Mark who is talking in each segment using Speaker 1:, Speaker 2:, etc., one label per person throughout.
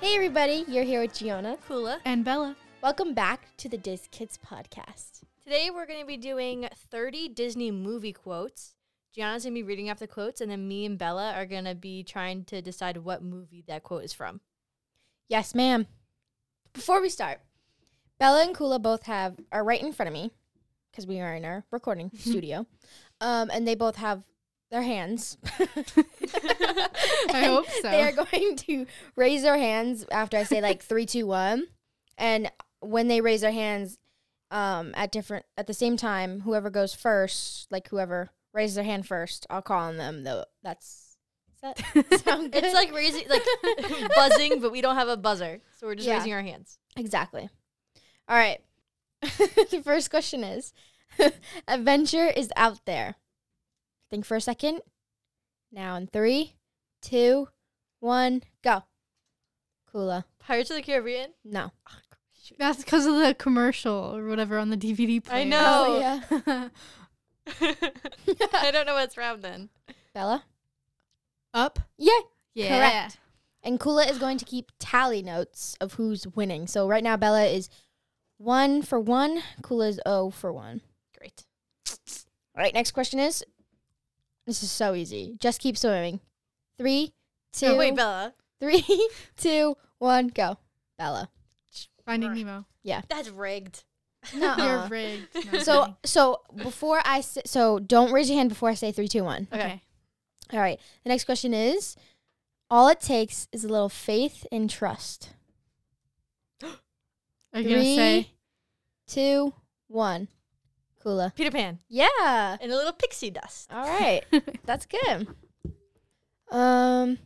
Speaker 1: Hey, everybody, you're here with Gianna.
Speaker 2: Kula.
Speaker 3: And Bella.
Speaker 1: Welcome back to the Diz Kids podcast.
Speaker 2: Today we're going to be doing 30 Disney movie quotes. Gianna's going to be reading off the quotes, and then me and Bella are going to be trying to decide what movie that quote is from.
Speaker 1: Yes, ma'am. Before we start, Bella and Kula both have are right in front of me because we are in our recording studio, um, and they both have their hands.
Speaker 3: I hope so.
Speaker 1: They are going to raise their hands after I say like three, two, one, and when they raise their hands um, at different at the same time, whoever goes first, like whoever raises their hand first, I'll call on them. Though that's does that sound good?
Speaker 2: It's like raising, like buzzing, but we don't have a buzzer, so we're just
Speaker 1: Yeah.
Speaker 2: raising our hands.
Speaker 1: Exactly. All right. the first question is Adventure is out there. Think for a second. Now in three, two, one, go. Kula.
Speaker 2: Pirates of the Caribbean.
Speaker 1: No.
Speaker 3: That's because of the commercial or whatever on the DVD player.
Speaker 2: I know. Oh.
Speaker 1: yeah.
Speaker 2: I don't know what's from then.
Speaker 1: Bella?
Speaker 3: Up.
Speaker 1: Yeah.
Speaker 3: Yeah.
Speaker 1: Correct. And Kula is going to keep tally notes of who's winning. So right now Bella is one for one. Kula is oh for one.
Speaker 2: Great.
Speaker 1: All right, next question is this is so easy. Just keep swimming. Three, two,
Speaker 2: Oh, wait, Bella.
Speaker 1: Three, two, one, go. Bella.
Speaker 3: Finding Nemo.
Speaker 2: That's rigged.
Speaker 3: You're rigged. No, I'm
Speaker 1: so
Speaker 3: kidding.
Speaker 1: so before I say, so don't raise your hand before I say three, two, one.
Speaker 2: okay.
Speaker 3: okay.
Speaker 1: All right. The next question is all it takes is a little faith and trust.
Speaker 3: Are you gonna say?
Speaker 1: Three, two, one. Kula.
Speaker 2: Peter Pan
Speaker 1: Yeah.
Speaker 2: and a little pixie dust.
Speaker 1: All right. That's good. Um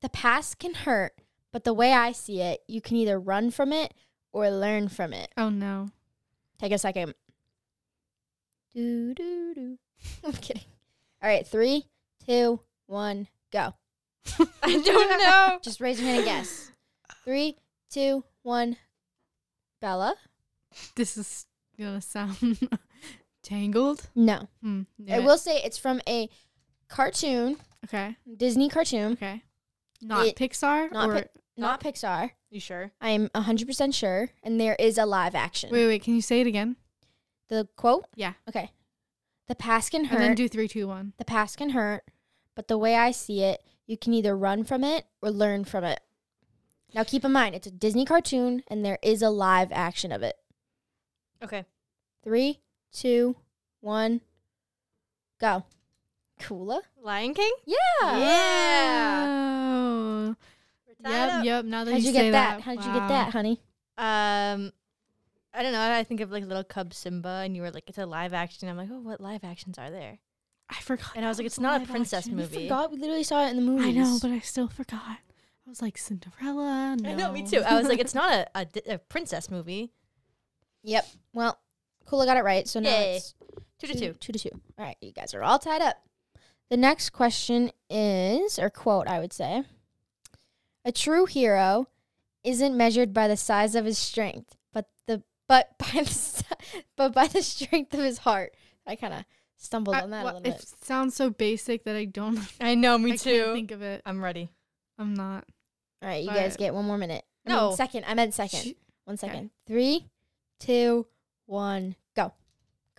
Speaker 1: the past can hurt, but the way I see it, you can either run from it or learn from it.
Speaker 3: Oh no.
Speaker 1: Take a second. Do do do. I'm kidding. All right, three, two, one, go.
Speaker 2: I don't know.
Speaker 1: Just raise your hand and guess. Three, two, one. Bella?
Speaker 3: This is gonna sound tangled.
Speaker 1: No.
Speaker 3: Hmm.
Speaker 1: I
Speaker 3: knew it.
Speaker 1: will say it's from a cartoon,
Speaker 3: Okay.
Speaker 1: Disney cartoon,
Speaker 3: Okay. Not
Speaker 1: It-
Speaker 3: Pixar
Speaker 1: not
Speaker 3: or
Speaker 1: not Pixar.
Speaker 2: You sure?
Speaker 1: I am 100% sure, and there is a live action.
Speaker 3: wait, wait. Can you say it again?
Speaker 1: The quote?
Speaker 3: Yeah.
Speaker 1: Okay. The past can
Speaker 3: And then
Speaker 1: hurt.
Speaker 3: do three, two, one.
Speaker 1: the past can hurt, but the way I see it, you can either run from it or learn from it. Now keep in mind, it's a Disney cartoon and there is a live action of it.
Speaker 2: Okay.
Speaker 1: Three, two, one, go. Kula?
Speaker 2: Lion King?
Speaker 1: Yeah.
Speaker 2: Yeah.
Speaker 3: Oh. Yep. Yep. Now that
Speaker 1: How'd
Speaker 3: you,
Speaker 1: you
Speaker 3: say
Speaker 1: get that?
Speaker 3: that.
Speaker 1: How'd you
Speaker 3: wow.
Speaker 1: get that, honey?
Speaker 2: Um, I don't know. I think of like little cub Simba, and you were like, it's a live action. I'm like, oh, what live actions are there?
Speaker 3: I forgot.
Speaker 2: And I was
Speaker 3: that
Speaker 2: like, it's
Speaker 3: a
Speaker 2: not a
Speaker 3: live
Speaker 2: princess
Speaker 3: action.
Speaker 1: We
Speaker 2: movie.
Speaker 1: forgot. We literally saw it in the movies.
Speaker 3: I know, but I still forgot. I was like Cinderella. No.
Speaker 2: I know, me too. I was like, it's not a, a, di- a princess movie.
Speaker 1: Yep. Well, Kula got it right. So now
Speaker 2: Yay.
Speaker 1: it's
Speaker 2: Two to two.
Speaker 1: Two to two. All right, you guys are all tied up. The next question is, or quote, I would say, a true hero isn't measured by the size of his strength, but the but by the si- but by the strength of his heart. I kind of stumbled
Speaker 3: I-
Speaker 1: on that
Speaker 3: well,
Speaker 1: a little
Speaker 3: It
Speaker 1: bit.
Speaker 3: sounds so basic that I don't.
Speaker 2: I know,
Speaker 3: I
Speaker 2: me
Speaker 3: can't
Speaker 2: too.
Speaker 3: think of it.
Speaker 2: I'm ready.
Speaker 3: I'm not.
Speaker 1: All right, you guys
Speaker 3: but-
Speaker 1: get one more minute. I mean,
Speaker 2: No.
Speaker 1: second. I meant second.
Speaker 3: Sh-
Speaker 1: One
Speaker 3: okay.
Speaker 1: second. Three, two, one, go.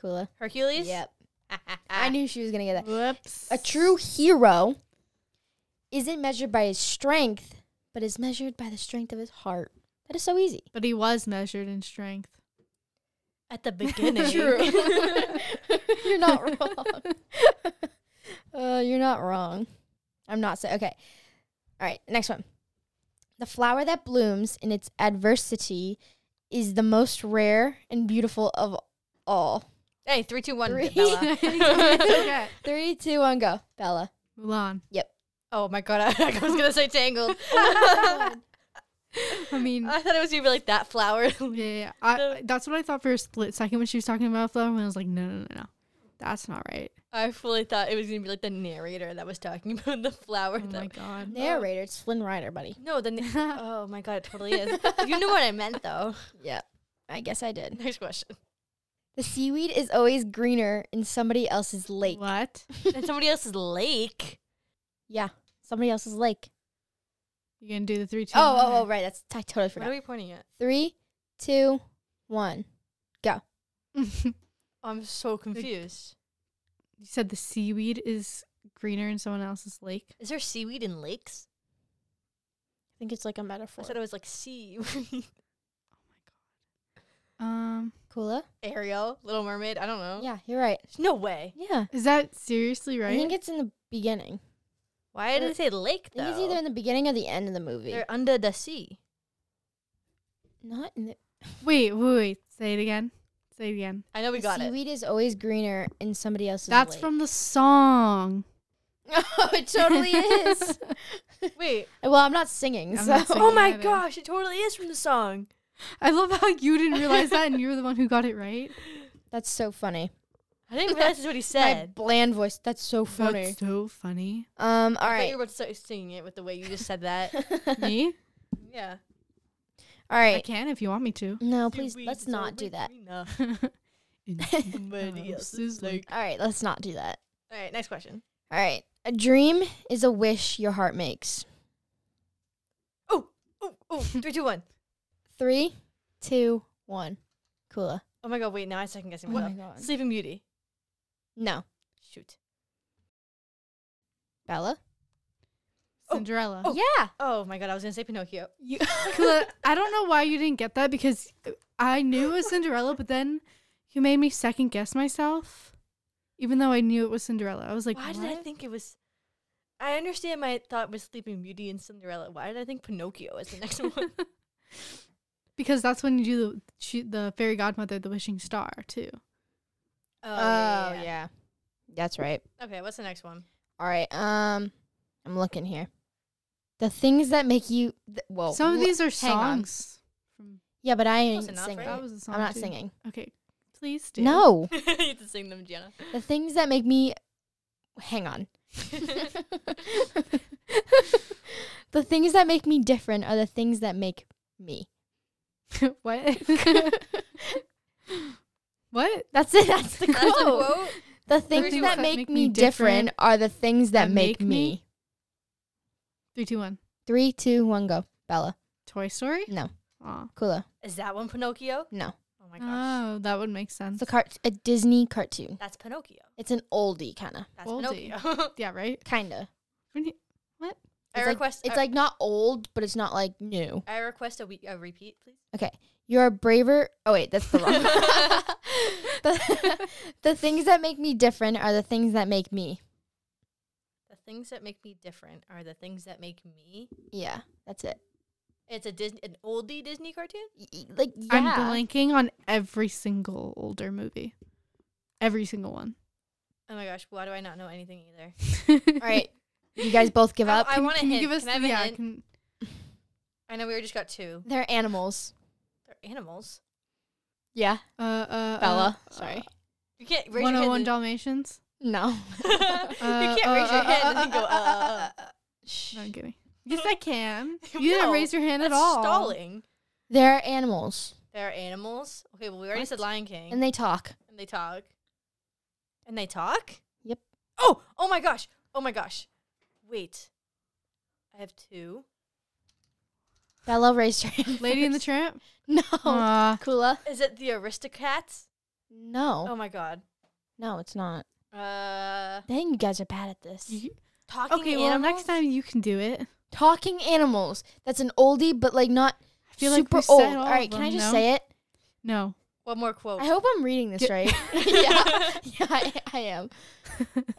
Speaker 1: Kula.
Speaker 2: Hercules?
Speaker 1: Yep.
Speaker 2: Ah.
Speaker 1: I knew she was gonna get that.
Speaker 3: Whoops.
Speaker 1: A true hero isn't measured by his strength, but is measured by the strength of his heart. That is so easy.
Speaker 3: But he was measured in strength.
Speaker 2: At the beginning.
Speaker 1: you're not wrong. uh, you're not wrong. I'm not saying. Okay. All right. Next one. The flower that blooms in its adversity is the most rare and beautiful of all.
Speaker 2: hey, three, two, one.
Speaker 1: Three.
Speaker 2: Bella.
Speaker 3: okay.
Speaker 1: Three, two, one, go. Bella.
Speaker 3: Mulan.
Speaker 2: oh my god, I, was gonna say Tangled. Um,
Speaker 3: I mean,
Speaker 2: I thought it was gonna be like that flower.
Speaker 3: yeah, yeah, I, that's what I thought for a split second when she was talking about flower, and I was like, no, no, no, no, that's not right.
Speaker 2: I fully thought it was gonna be like the narrator that was talking about the flower.
Speaker 3: Oh
Speaker 2: that-
Speaker 3: my god.
Speaker 1: Narrator. It's Flynn Rider, buddy.
Speaker 2: no, the. Na- oh my god, it totally is. you knew what I meant though.
Speaker 1: Yeah. I guess I did.
Speaker 2: Next question.
Speaker 1: The seaweed is always greener in somebody else's lake.
Speaker 3: What?
Speaker 2: And somebody else's lake.
Speaker 1: Yeah, somebody else's lake.
Speaker 3: You gonna do the three, two,
Speaker 1: Oh,
Speaker 3: one,
Speaker 1: oh, oh,
Speaker 3: or-
Speaker 1: right. That's I totally
Speaker 2: What are
Speaker 1: forgot.
Speaker 2: we pointing at?
Speaker 1: Three, two, one.
Speaker 2: oh, I'm so confused.
Speaker 3: you said the seaweed is greener in someone else's lake.
Speaker 2: Is there seaweed in lakes?
Speaker 1: I think it's like a
Speaker 2: I
Speaker 1: metaphor.
Speaker 2: said it was like seaweed.
Speaker 3: Um,
Speaker 1: Cooler?
Speaker 2: Ariel, Little Mermaid. I don't know.
Speaker 1: Yeah, you're right.
Speaker 2: There's no way.
Speaker 1: Yeah.
Speaker 3: is that seriously right?
Speaker 1: I think it's in the beginning.
Speaker 2: Why did
Speaker 1: Or-
Speaker 2: it say lake
Speaker 1: I
Speaker 2: though?
Speaker 1: think it's either in the beginning or the end of the movie.
Speaker 2: They're under the sea.
Speaker 1: Not in the
Speaker 3: wait, wait, wait. Say it again. Say it again.
Speaker 2: I know we
Speaker 1: The
Speaker 2: got it.
Speaker 1: seaweed is always greener in somebody else's.
Speaker 3: That's
Speaker 1: lake.
Speaker 3: from the song.
Speaker 1: oh, it totally is.
Speaker 2: Wait.
Speaker 1: well, I'm not singing,
Speaker 3: I'm
Speaker 1: so
Speaker 3: not singing.
Speaker 2: Oh my
Speaker 3: either.
Speaker 2: gosh, it totally is from the song.
Speaker 3: I love how you didn't realize that, and you were the one who got it right.
Speaker 1: that's so funny.
Speaker 2: I didn't realize that's what he
Speaker 1: My
Speaker 2: said.
Speaker 1: bland voice. That's so funny.
Speaker 3: That's so funny.
Speaker 1: um. All
Speaker 2: I thought
Speaker 1: right.
Speaker 2: you were about to start singing it with the way you just said that.
Speaker 1: all
Speaker 3: Me?
Speaker 2: yeah.
Speaker 3: I
Speaker 1: right.
Speaker 3: can if you want me to.
Speaker 1: No, please.
Speaker 2: Seaweed
Speaker 1: Let's
Speaker 2: is
Speaker 1: not
Speaker 2: always
Speaker 1: do that.
Speaker 2: greener
Speaker 3: In
Speaker 1: all
Speaker 2: than somebody
Speaker 3: Oh,
Speaker 2: else's
Speaker 3: sizzling.
Speaker 2: lake.
Speaker 1: right. Let's not do that.
Speaker 2: All right, next question.
Speaker 1: All right. A dream is a wish your heart makes.
Speaker 2: Oh, oh, three, two, one.
Speaker 1: Three, two, one. Cooler.
Speaker 2: Oh my god, wait, now I'm second guessing
Speaker 1: Oh my
Speaker 2: myself.
Speaker 1: God.
Speaker 2: Sleeping Beauty.
Speaker 1: No.
Speaker 2: Shoot.
Speaker 1: Bella.
Speaker 2: Oh,
Speaker 3: Cinderella.
Speaker 2: oh.
Speaker 1: Yeah.
Speaker 2: Oh my god, I was gonna say Pinocchio.
Speaker 3: You- Kayla, I don't know why you didn't get that because I knew it was Cinderella, but then you made me second guess myself, even though I knew it was Cinderella. I was like,
Speaker 2: Why did I
Speaker 3: "What?"
Speaker 2: think it was? I understand my thought was Sleeping Beauty and Cinderella. Why did I think Pinocchio is the next one?
Speaker 3: Because that's when you do the, she, the fairy godmother, the wishing star, too.
Speaker 2: Oh,
Speaker 1: That's right.
Speaker 2: Okay, what's the next one?
Speaker 1: All right. Um, I'm looking here. The things that make you. Th- whoa.
Speaker 3: Some of
Speaker 1: Oh, wha-
Speaker 3: these are
Speaker 1: hang on.
Speaker 3: songs. From,
Speaker 1: Yeah, but I
Speaker 2: Close
Speaker 1: ain't
Speaker 2: enough,
Speaker 1: singing.
Speaker 2: right?
Speaker 3: that was a song.
Speaker 1: I'm not
Speaker 3: too.
Speaker 1: singing.
Speaker 3: Okay, please do.
Speaker 1: No.
Speaker 2: you have to sing them, Gianna.
Speaker 1: The things that make me. Hang on. the things that make me different are the things that make me.
Speaker 3: what? what?
Speaker 1: That's it. That's the quote.
Speaker 2: That's a quote.
Speaker 1: The
Speaker 3: Things
Speaker 1: things that make, me
Speaker 3: different
Speaker 1: different are the things that, make, me.
Speaker 3: Three, two, one.
Speaker 1: Three, two, one, go. Bella.
Speaker 3: Toy Story.
Speaker 1: No.
Speaker 3: Aw.
Speaker 1: Kula.
Speaker 2: Is that one Pinocchio?
Speaker 1: No.
Speaker 2: Oh my gosh,
Speaker 3: Oh, that would make sense.
Speaker 1: It's a, cart- a Disney cartoon.
Speaker 2: that's Pinocchio.
Speaker 1: It's an oldie, kind of.
Speaker 2: That's
Speaker 3: Oldie.
Speaker 2: Pinocchio.
Speaker 3: Yeah, right.
Speaker 1: Kind of.
Speaker 3: When you-
Speaker 2: I
Speaker 1: It's like-
Speaker 2: request.
Speaker 1: It's
Speaker 2: I,
Speaker 1: like not old, but it's not like new.
Speaker 2: I request a, we- a repeat, please.
Speaker 1: You're a braver. Oh, wait, that's the wrong the, the things that make me different are the things that make me.
Speaker 2: The things that make me different are the things that make me.
Speaker 1: Yeah, that's it.
Speaker 2: It's a Disney, an oldie Disney cartoon.
Speaker 1: Y- y- Like, yeah.
Speaker 3: I'm blanking on every single older movie. Every single one.
Speaker 2: Oh my gosh, why do I not know anything either?
Speaker 3: All
Speaker 1: All right. You guys both give
Speaker 2: I-
Speaker 1: up.
Speaker 2: I want a
Speaker 3: Can you
Speaker 2: hint.
Speaker 3: give us
Speaker 2: can I have a
Speaker 3: yeah,
Speaker 2: hint?
Speaker 3: can-
Speaker 2: I know we already just got two.
Speaker 1: They're animals.
Speaker 2: They're animals.
Speaker 1: Yeah.
Speaker 3: uh, uh,
Speaker 1: Bella.
Speaker 3: uh,
Speaker 1: Sorry.
Speaker 2: You can't raise your hand.
Speaker 3: 101
Speaker 2: and-
Speaker 3: Dalmatians.
Speaker 1: No.
Speaker 2: you can't
Speaker 3: Uh,
Speaker 2: raise
Speaker 3: uh,
Speaker 2: your
Speaker 3: uh,
Speaker 2: hand
Speaker 3: uh,
Speaker 2: and then go. Uh,
Speaker 3: uh, uh, uh,
Speaker 2: uh,
Speaker 3: uh, uh. No, I'm kidding. Yes, I can. You
Speaker 2: No,
Speaker 3: didn't raise your hand
Speaker 2: that's
Speaker 3: at all.
Speaker 2: stalling.
Speaker 1: They're animals.
Speaker 2: They're animals. Okay, well we already said
Speaker 3: What?
Speaker 2: Lion King,
Speaker 1: And they talk.
Speaker 2: and they talk, and they talk.
Speaker 1: Yep.
Speaker 2: Oh, oh my gosh, oh my gosh. Wait, I have two.
Speaker 1: Bella raised her hand.
Speaker 3: Lady and the Tramp.
Speaker 1: first. No.
Speaker 3: Aw.
Speaker 1: Kula.
Speaker 2: Is it the Aristocats?
Speaker 1: No.
Speaker 2: Oh my god.
Speaker 1: No, it's not.
Speaker 2: Uh,
Speaker 1: Dang, you guys are bad at this.
Speaker 3: You-
Speaker 2: talking
Speaker 3: okay,
Speaker 2: animals.
Speaker 3: well, next time you can do it. I
Speaker 1: Talking animals. That's an oldie, but like not
Speaker 3: feel like
Speaker 1: super
Speaker 3: we said
Speaker 1: old.
Speaker 3: all
Speaker 1: All right,
Speaker 3: of
Speaker 1: can I
Speaker 3: them,
Speaker 1: just
Speaker 3: no?
Speaker 1: say it?
Speaker 3: No.
Speaker 2: One more quote.
Speaker 1: I hope I'm reading this
Speaker 3: Get-
Speaker 1: right. yeah, yeah, I, I am.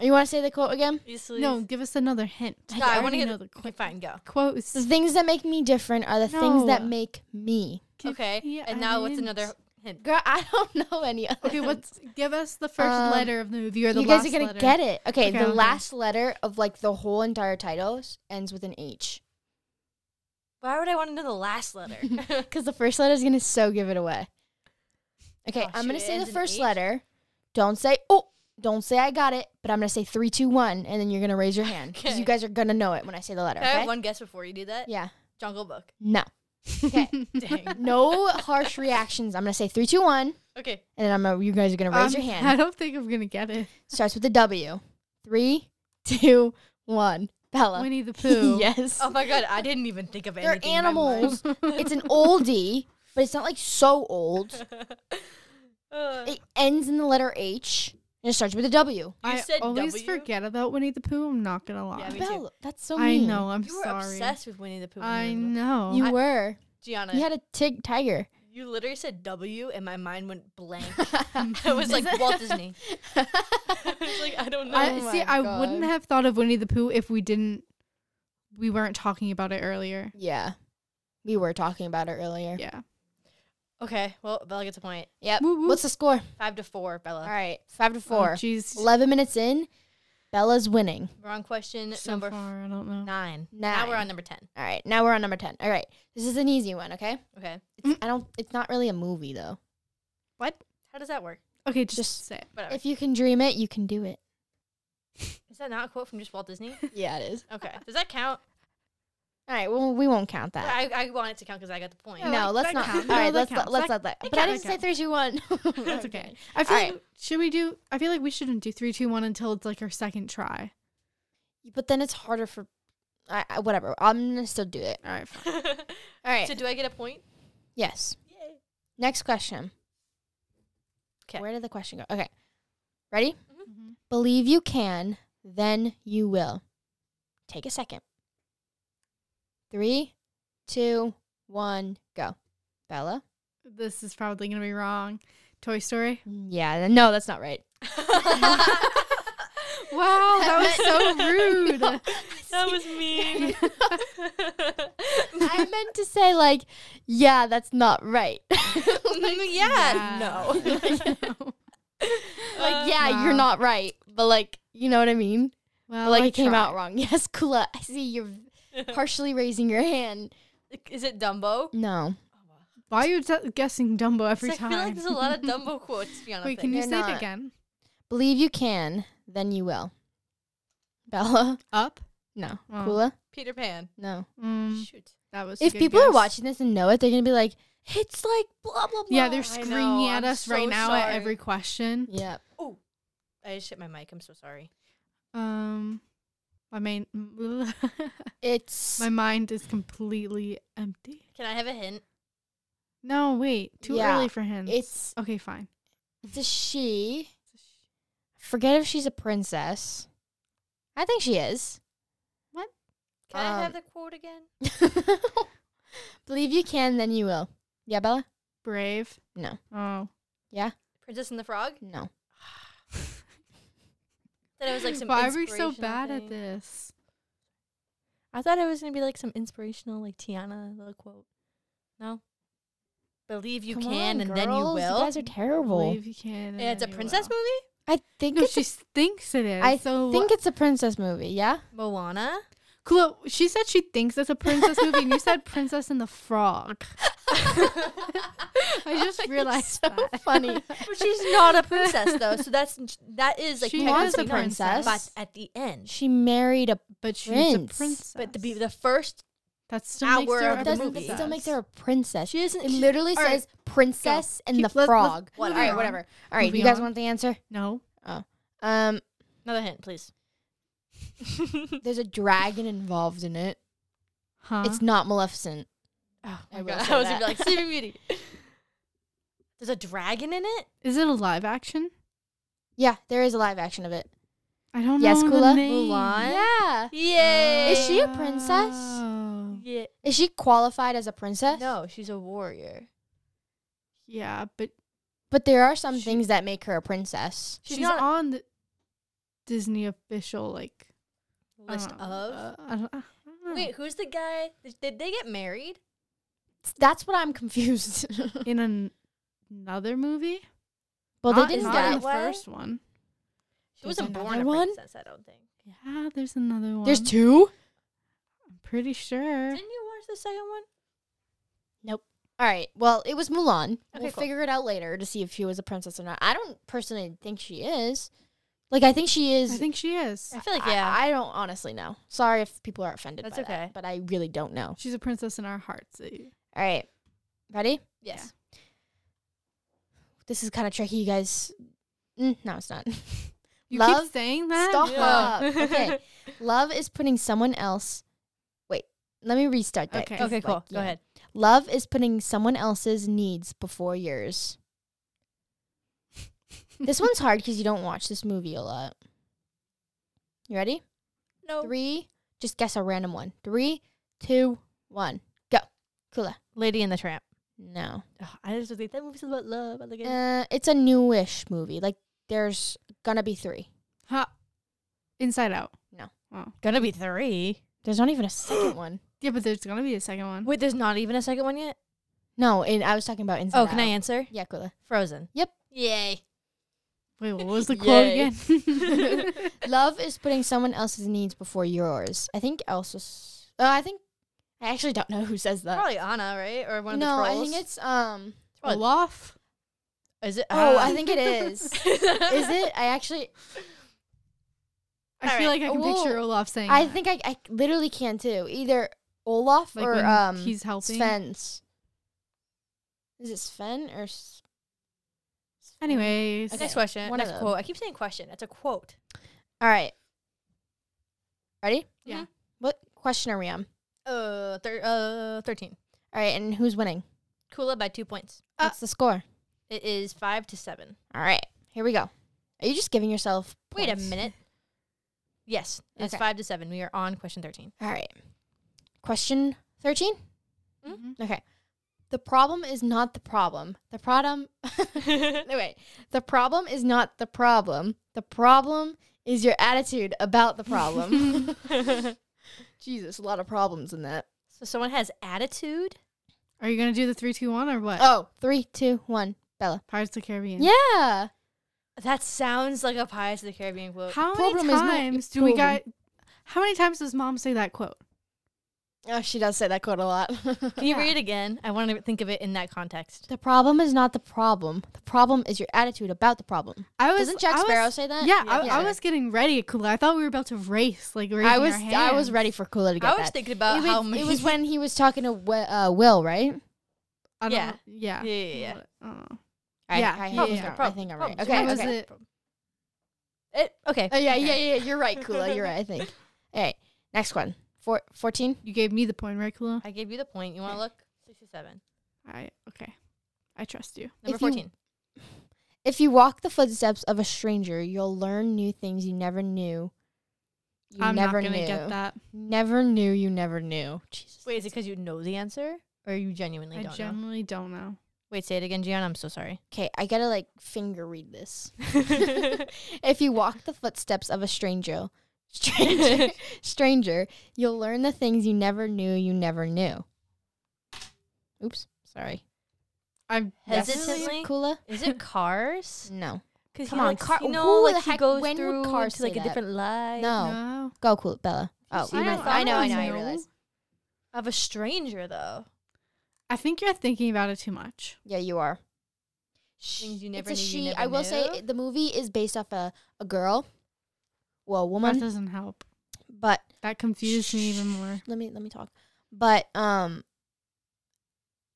Speaker 1: You want to say the quote again?
Speaker 2: Yes,
Speaker 3: No,
Speaker 2: please.
Speaker 3: give us another hint.
Speaker 1: I
Speaker 2: No, I,
Speaker 1: already
Speaker 2: want to
Speaker 3: know
Speaker 2: get
Speaker 3: the
Speaker 2: the
Speaker 3: quote.
Speaker 2: okay, fine. Go.
Speaker 3: Quote is
Speaker 1: The things that make me different are the things that
Speaker 3: No.
Speaker 1: make me.
Speaker 3: Give
Speaker 2: okay,
Speaker 3: me
Speaker 2: and
Speaker 3: a
Speaker 2: now what's
Speaker 3: hint.
Speaker 2: another hint?
Speaker 1: Girl, I don't know any other.
Speaker 3: Okay, what's give us the first
Speaker 1: Um,
Speaker 3: letter of the movie or the
Speaker 1: you guys
Speaker 3: last
Speaker 1: are gonna
Speaker 3: letter.
Speaker 1: get it. Okay,
Speaker 3: Okay,
Speaker 1: the
Speaker 3: okay.
Speaker 1: last letter of like the whole entire title s- ends with an H.
Speaker 2: Why would I want to know the last letter?
Speaker 1: Because the first letter is gonna so give it away. Okay,
Speaker 2: Oh,
Speaker 1: I'm gonna
Speaker 2: shoot, it
Speaker 1: say the
Speaker 2: ends in
Speaker 1: first
Speaker 2: H?
Speaker 1: letter. Don't say oh. Don't say I got it, but I'm gonna say three, two, one, and then you're gonna raise your hand because
Speaker 2: Okay.
Speaker 1: you guys are gonna know it when I say the letter.
Speaker 2: Can I have
Speaker 1: Okay?
Speaker 2: one guess before you do that?
Speaker 1: Yeah.
Speaker 2: Jungle Book.
Speaker 1: No. Okay.
Speaker 2: Dang.
Speaker 1: no harsh reactions. I'm gonna say three, two, one,
Speaker 2: okay.
Speaker 1: and then I'm gonna, you guys are gonna raise
Speaker 3: Um,
Speaker 1: your hand.
Speaker 3: I don't think I'm gonna get it.
Speaker 1: Starts with a W. Three, two, one. Bella.
Speaker 3: Winnie the Pooh.
Speaker 1: yes.
Speaker 2: Oh my god, I didn't even think of
Speaker 1: They're
Speaker 2: anything. in my mind.
Speaker 1: animals. it's an oldie, but it's not like so old.
Speaker 2: Uh,
Speaker 1: It ends in the letter H and it starts with a W.
Speaker 3: I
Speaker 2: said
Speaker 3: always
Speaker 2: W?
Speaker 3: forget about Winnie the Pooh. I'm not gonna lie.
Speaker 2: Yeah, me too.
Speaker 1: Bella, that's so
Speaker 3: I
Speaker 1: mean.
Speaker 3: know. I'm
Speaker 2: you were
Speaker 3: sorry.
Speaker 2: obsessed with Winnie the Pooh. when
Speaker 3: I
Speaker 2: you were little.
Speaker 3: know.
Speaker 1: You
Speaker 2: I-
Speaker 1: were.
Speaker 2: Gianna,
Speaker 1: You had a tig tiger.
Speaker 2: you literally said W, and my mind went blank. I was like Walt Disney. I was like, I don't know.
Speaker 3: I,
Speaker 1: Oh
Speaker 3: see,
Speaker 1: my
Speaker 3: I wouldn't
Speaker 1: God.
Speaker 3: have thought of Winnie the Pooh if we didn't. We weren't talking about it earlier.
Speaker 1: yeah. We were talking about it earlier.
Speaker 3: Yeah. Um,
Speaker 2: okay, well, Bella gets a point.
Speaker 1: Yep.
Speaker 3: Woo, woo.
Speaker 1: What's the score?
Speaker 2: Five to four, Bella.
Speaker 1: All right. Five to
Speaker 3: Oh,
Speaker 1: four.
Speaker 3: Jeez.
Speaker 1: 11 minutes in, Bella's winning.
Speaker 2: Wrong question
Speaker 3: so
Speaker 2: number f-
Speaker 3: far, I don't know.
Speaker 2: nine. Now
Speaker 1: Nine.
Speaker 2: we're on number ten.
Speaker 1: All right. Now we're on number 10. All right. This is an easy one, okay?
Speaker 2: Okay,
Speaker 1: I don't, it's not really a movie, though.
Speaker 2: how does that work?
Speaker 3: Okay, just,
Speaker 1: Just-
Speaker 3: say it.
Speaker 2: Whatever.
Speaker 1: If you can dream it, you can do it.
Speaker 2: Is that not a quote from just Walt Disney?
Speaker 1: Yeah, it is.
Speaker 2: Okay, does that count?
Speaker 1: All right. Well, we won't count that.
Speaker 2: I, I want it to count because I got the point.
Speaker 3: Yeah,
Speaker 1: no,
Speaker 3: like,
Speaker 1: let's
Speaker 3: that
Speaker 1: not.
Speaker 3: counts.
Speaker 1: All
Speaker 3: No,
Speaker 1: right,
Speaker 3: that
Speaker 1: let's
Speaker 3: counts.
Speaker 1: let's
Speaker 3: That-
Speaker 1: not that.
Speaker 3: that
Speaker 1: But I didn't
Speaker 3: counts,
Speaker 1: say
Speaker 3: that
Speaker 1: three, two, one.
Speaker 3: That's okay. I feel
Speaker 1: Alright.
Speaker 3: like, should we do? I feel like we shouldn't do three, two, one until it's like our second try.
Speaker 1: But then it's harder for, I, I whatever. I'm gonna still do it.
Speaker 3: All right, fine.
Speaker 1: All right.
Speaker 2: so do I get a point?
Speaker 1: yes.
Speaker 2: Yay.
Speaker 1: Next question.
Speaker 2: 'Kay.
Speaker 1: Where did the question go? Okay. Ready?
Speaker 3: Mhm.
Speaker 1: Believe you can, then you will. Take a second. Three, two, one, go. Bella.
Speaker 3: This is probably gonna be wrong. Toy Story.
Speaker 1: Yeah. No, that's not right.
Speaker 3: Wow, that was so rude.
Speaker 2: that was mean.
Speaker 1: I meant to say like, yeah, that's not right.
Speaker 2: Mm,
Speaker 3: Yeah.
Speaker 2: yeah, no.
Speaker 1: like
Speaker 2: Uh,
Speaker 1: yeah you're
Speaker 3: Wow.
Speaker 1: not right but like you know what i mean
Speaker 3: well,
Speaker 1: like
Speaker 3: I
Speaker 1: it came out
Speaker 3: tried.
Speaker 1: wrong yes kula i see you're partially raising your hand
Speaker 2: Is it Dumbo?
Speaker 1: no
Speaker 3: Why are you d- guessing Dumbo every
Speaker 2: It's like,
Speaker 3: time?
Speaker 2: I feel like there's a lot of Dumbo quotes. To be honest,
Speaker 3: Wait, can you
Speaker 1: They're
Speaker 3: say
Speaker 1: not.
Speaker 3: it again?
Speaker 1: believe you can then you will bella
Speaker 3: Up.
Speaker 1: no
Speaker 3: Oh.
Speaker 1: kula
Speaker 2: Peter Pan?
Speaker 1: no
Speaker 3: Mm,
Speaker 2: Shoot.
Speaker 3: that was. a
Speaker 1: if
Speaker 3: good
Speaker 1: people are
Speaker 3: guess.
Speaker 1: watching this and know it they're gonna be like it's like blah blah blah
Speaker 3: Yeah, they're
Speaker 2: I know,
Speaker 3: screaming at
Speaker 2: I'm
Speaker 3: us right
Speaker 2: so
Speaker 3: now at
Speaker 2: sorry.
Speaker 3: every question.
Speaker 1: yeah
Speaker 2: I just hit my mic. I'm so sorry.
Speaker 3: Um, my main, my
Speaker 1: it's
Speaker 3: mind is completely empty.
Speaker 2: Can I have a hint?
Speaker 3: No, wait, too
Speaker 1: Yeah,
Speaker 3: early for hints.
Speaker 1: it's
Speaker 3: okay, fine.
Speaker 1: it's a she forget if she's a princess i think she is
Speaker 2: Can I have
Speaker 1: Um,
Speaker 2: the quote again?
Speaker 1: believe you can then you will yeah bella
Speaker 3: Brave.
Speaker 1: No.
Speaker 3: Oh.
Speaker 2: Princess and the Frog.
Speaker 1: no
Speaker 2: That it was like some.
Speaker 3: Why are we so
Speaker 2: inspirational
Speaker 3: bad at
Speaker 2: thing.
Speaker 3: this?
Speaker 2: I thought it was gonna be like some inspirational, like Tiana little quote. No. Believe you
Speaker 1: Come
Speaker 2: can,
Speaker 1: on,
Speaker 2: and then you
Speaker 1: girls.
Speaker 2: will.
Speaker 1: You guys are terrible.
Speaker 3: Believe you can. and
Speaker 2: it's a
Speaker 3: then you
Speaker 2: princess
Speaker 3: will.
Speaker 1: I think
Speaker 3: No,
Speaker 1: it's
Speaker 3: she s- thinks it is.
Speaker 1: I
Speaker 3: so
Speaker 1: think it's a princess movie. Yeah.
Speaker 2: movie. Moana.
Speaker 3: Chloe, she said she thinks it's a princess movie, and you said Princess and the Frog. I just realized
Speaker 1: so
Speaker 3: that.
Speaker 1: funny.
Speaker 2: But she's not a princess though, so that's that is like
Speaker 3: She
Speaker 1: was
Speaker 2: technically
Speaker 1: a
Speaker 2: not,
Speaker 1: princess.
Speaker 2: But at the end,
Speaker 1: She married a.
Speaker 3: But she's a
Speaker 1: Prince.
Speaker 3: princess.
Speaker 2: but the be- the first
Speaker 3: that still makes
Speaker 2: hour
Speaker 3: her
Speaker 2: of
Speaker 3: a
Speaker 2: the
Speaker 1: Doesn't
Speaker 2: movie.
Speaker 1: that still make
Speaker 3: princess.
Speaker 1: her a princess?
Speaker 2: she isn't.
Speaker 1: It literally
Speaker 3: all right,
Speaker 1: says princess and
Speaker 3: Keep-
Speaker 1: the
Speaker 3: let's- let's-
Speaker 1: frog.
Speaker 2: What-
Speaker 1: All right,
Speaker 3: moving on.
Speaker 1: whatever. All right, you
Speaker 3: Moving
Speaker 1: guys
Speaker 3: on.
Speaker 1: want the answer?
Speaker 3: No.
Speaker 1: Um,
Speaker 2: another hint, please.
Speaker 1: there's a dragon involved in it.
Speaker 3: Huh?
Speaker 1: It's not Maleficent.
Speaker 2: oh
Speaker 1: I
Speaker 2: my
Speaker 1: will
Speaker 2: god,
Speaker 1: say
Speaker 2: I was
Speaker 1: that.
Speaker 2: gonna be like Sleeping Beauty. There's a dragon in it.
Speaker 3: is it a live action?
Speaker 1: Yeah, there is a live action of it.
Speaker 3: I don't
Speaker 1: Yes,
Speaker 3: know. the
Speaker 1: Kula?
Speaker 3: name.
Speaker 2: Mulan?
Speaker 1: Yeah.
Speaker 2: Yay!
Speaker 1: Is she a princess?
Speaker 3: Oh.
Speaker 2: Yeah.
Speaker 1: Is she qualified as a princess?
Speaker 2: No, she's a warrior.
Speaker 3: Yeah, but
Speaker 1: But there are some
Speaker 3: She-
Speaker 1: things that make her a princess.
Speaker 2: She's
Speaker 3: she's,
Speaker 2: not-
Speaker 3: on the Disney official like
Speaker 2: List
Speaker 3: um,
Speaker 2: of.
Speaker 3: uh, I don't, I don't know.
Speaker 2: Wait, who's the guy? Did- Did they get married?
Speaker 1: That's what I'm confused.
Speaker 3: in an, another movie.
Speaker 1: well,
Speaker 3: not,
Speaker 1: they didn't
Speaker 3: not
Speaker 2: that
Speaker 3: in
Speaker 1: get
Speaker 3: the
Speaker 1: it.
Speaker 2: way.
Speaker 3: first one.
Speaker 2: She wasn't
Speaker 1: another
Speaker 2: born a
Speaker 1: one?
Speaker 2: princess, I don't think.
Speaker 3: Yeah, Ah, there's another one.
Speaker 1: There's two.
Speaker 3: I'm pretty sure.
Speaker 2: Didn't you watch the second one?
Speaker 1: All right. Well, it was Mulan. we'll
Speaker 2: Okay, cool.
Speaker 1: figure it out later to see if she was a princess or not. I don't personally think she is. Like, I think she is.
Speaker 3: I think she is.
Speaker 2: I feel like yeah.
Speaker 1: I, I don't honestly know. Sorry if people are offended.
Speaker 2: That's
Speaker 1: by that,
Speaker 2: okay.
Speaker 1: but I really don't know.
Speaker 3: She's a princess in our hearts. Uh,
Speaker 1: All right. Ready?
Speaker 2: yes.
Speaker 1: This is kind of tricky, you guys. Mm, no, it's not.
Speaker 3: You
Speaker 1: Love,
Speaker 3: keep saying that?
Speaker 1: Stop.
Speaker 2: Yeah.
Speaker 1: Okay. Love is putting someone else. Wait, let me restart that.
Speaker 3: Okay.
Speaker 1: 'cause,
Speaker 2: okay,
Speaker 1: like,
Speaker 2: cool. Go
Speaker 1: yeah.
Speaker 2: ahead.
Speaker 1: Love is putting someone else's needs before yours. this one's hard because you don't watch this movie a lot. You ready?
Speaker 2: No.
Speaker 1: Three. Just guess a random one. Three, two, one. Go. Kula.
Speaker 2: Lady and the Tramp.
Speaker 1: No.
Speaker 2: Ugh, I just think that movie's about love. I like it.
Speaker 1: Uh, it's a newish movie. Like there's gonna be three.
Speaker 3: Ha. Inside Out.
Speaker 2: Gonna be three.
Speaker 1: There's not even a second one.
Speaker 3: Yeah, but there's gonna be a second one.
Speaker 2: Wait, there's not even a second one yet.
Speaker 1: No, and I was talking about Inside
Speaker 2: Oh, can I
Speaker 1: Out.
Speaker 2: answer?
Speaker 1: Yeah, Kula.
Speaker 2: Frozen.
Speaker 1: Yep.
Speaker 2: Yay.
Speaker 3: Wait, what was the quote
Speaker 2: Yay.
Speaker 3: again?
Speaker 1: Love is putting someone else's needs before yours. I think Elsa. s- Oh, I think I actually don't know who says that.
Speaker 2: Probably Anna, right? Or one of
Speaker 1: no,
Speaker 2: the
Speaker 1: I
Speaker 2: trolls.
Speaker 1: think it's um.
Speaker 2: What?
Speaker 3: Olaf.
Speaker 2: Is it?
Speaker 1: Oh,
Speaker 2: Ah.
Speaker 1: I think it is. is it? I actually,
Speaker 3: I
Speaker 2: All
Speaker 3: feel
Speaker 2: right.
Speaker 3: like I can picture
Speaker 1: Well,
Speaker 3: Olaf saying.
Speaker 1: I
Speaker 3: that.
Speaker 1: think I, I literally can too. Either Olaf
Speaker 3: like
Speaker 1: or
Speaker 3: when
Speaker 1: um.
Speaker 3: he's helping.
Speaker 1: Sven's. Is it Sven or? S- Sven?
Speaker 3: Anyways,
Speaker 1: Okay.
Speaker 2: Next question.
Speaker 1: One of
Speaker 2: Next
Speaker 1: them.
Speaker 2: quote. I keep saying question. That's a quote.
Speaker 1: All right. Ready?
Speaker 3: Yeah.
Speaker 2: Mhm.
Speaker 1: What question are we on?
Speaker 2: Uh, thir- uh, thirteen.
Speaker 1: All right, and who's winning?
Speaker 2: Kula by two points.
Speaker 3: Uh,
Speaker 1: What's the score?
Speaker 2: It is five to seven.
Speaker 1: All right, here we go. Are you just giving yourself?
Speaker 2: Wait a
Speaker 1: points?
Speaker 2: minute. Yes, it's
Speaker 1: Okay.
Speaker 2: five to seven. We are on question thirteen.
Speaker 1: All right. Question 13?
Speaker 3: Mhm.
Speaker 1: Okay. The problem is not the problem. The problem. no, wait. The problem is not the problem. The problem is your attitude about the problem. Jesus, a lot of problems in that.
Speaker 2: So someone has attitude.
Speaker 3: are you gonna do the three, two, one, or what?
Speaker 1: Oh, three, two, one. Bella.
Speaker 3: Pirates of the Caribbean.
Speaker 1: Yeah.
Speaker 2: That sounds like a Pirates of the Caribbean quote.
Speaker 3: How
Speaker 1: Problem is
Speaker 3: many
Speaker 1: not your
Speaker 3: times do we
Speaker 1: problem.
Speaker 3: got? How many times does mom say that quote?
Speaker 1: Oh, she does say that quote a lot.
Speaker 2: Can you read it again? I want to think of it in that context.
Speaker 1: the problem is not the problem. The problem is your attitude about the problem.
Speaker 3: I was.
Speaker 1: Doesn't Jack
Speaker 3: I was-
Speaker 1: Sparrow say that?
Speaker 3: Yeah, I,
Speaker 1: Yeah.
Speaker 3: I was getting ready, Kula. I thought we were about to race, like raising
Speaker 1: I
Speaker 3: our
Speaker 1: was I was
Speaker 3: hands.
Speaker 1: ready for Kula to get
Speaker 2: I was
Speaker 1: that.
Speaker 2: thinking about
Speaker 1: it was,
Speaker 2: how many.
Speaker 1: it was when he was talking to Wi- uh, Will, right?
Speaker 3: I don't
Speaker 2: Yeah.
Speaker 3: know- yeah.
Speaker 2: yeah, yeah, yeah.
Speaker 3: I don't know.
Speaker 1: I,
Speaker 3: Yeah,
Speaker 1: I,
Speaker 3: yeah,
Speaker 1: think
Speaker 3: yeah.
Speaker 1: I'm- I
Speaker 2: Problem,
Speaker 1: think I'm right.
Speaker 2: problem.
Speaker 1: Okay,
Speaker 3: What was
Speaker 1: okay.
Speaker 3: it?
Speaker 2: It, okay.
Speaker 1: Oh, yeah, yeah, yeah. You're right, Kula. You're right. I think. All right, next one. Four, 14?
Speaker 3: You gave me the point, right, Kula?
Speaker 2: I gave you the point. You want to look? Sixty-seven.
Speaker 3: All right. Okay. I trust you.
Speaker 2: Number
Speaker 1: If you-
Speaker 2: fourteen.
Speaker 1: If you walk the footsteps of a stranger, you'll learn new things you never knew. You
Speaker 3: I'm
Speaker 1: never
Speaker 3: not gonna
Speaker 1: knew.
Speaker 3: get that.
Speaker 1: Never knew. You never knew. Jesus.
Speaker 2: Wait, is it because you know the answer, or you genuinely
Speaker 3: I
Speaker 2: don't know?
Speaker 3: generally don't know.
Speaker 2: Wait, say it again, Gianna. I'm so sorry.
Speaker 1: Okay, I gotta like finger read this. if you walk the footsteps of a stranger, stranger, stranger, you'll learn the things you never knew you never knew. Oops, sorry.
Speaker 3: I'm
Speaker 2: Hesitantly?
Speaker 3: definitely-
Speaker 1: Kula?
Speaker 2: Is it cars?
Speaker 1: No.
Speaker 2: Because
Speaker 1: Come
Speaker 2: he
Speaker 1: on,
Speaker 2: like,
Speaker 1: car-
Speaker 2: you
Speaker 1: who
Speaker 2: know,
Speaker 1: the
Speaker 2: like he
Speaker 1: heck-
Speaker 2: goes
Speaker 1: when would
Speaker 2: through
Speaker 1: cars
Speaker 2: to, like
Speaker 1: say
Speaker 2: a
Speaker 1: that?
Speaker 2: different life
Speaker 1: No.
Speaker 3: No.
Speaker 1: Go, Kula. Bella. Oh,
Speaker 2: seen
Speaker 1: I
Speaker 2: my
Speaker 1: know, I know, I know, I
Speaker 3: phone?
Speaker 1: realize.
Speaker 2: of a stranger though.
Speaker 3: I think you're thinking about it too much.
Speaker 1: Yeah, you are. She,
Speaker 2: Things you never
Speaker 1: it's a
Speaker 2: knew you
Speaker 1: she.
Speaker 2: never
Speaker 1: I will say
Speaker 2: knew?
Speaker 1: it- the movie is based off a, a girl, well, a
Speaker 3: That
Speaker 1: woman,
Speaker 3: doesn't help.
Speaker 1: but
Speaker 3: That confused me even more.
Speaker 1: let me let me talk. But um,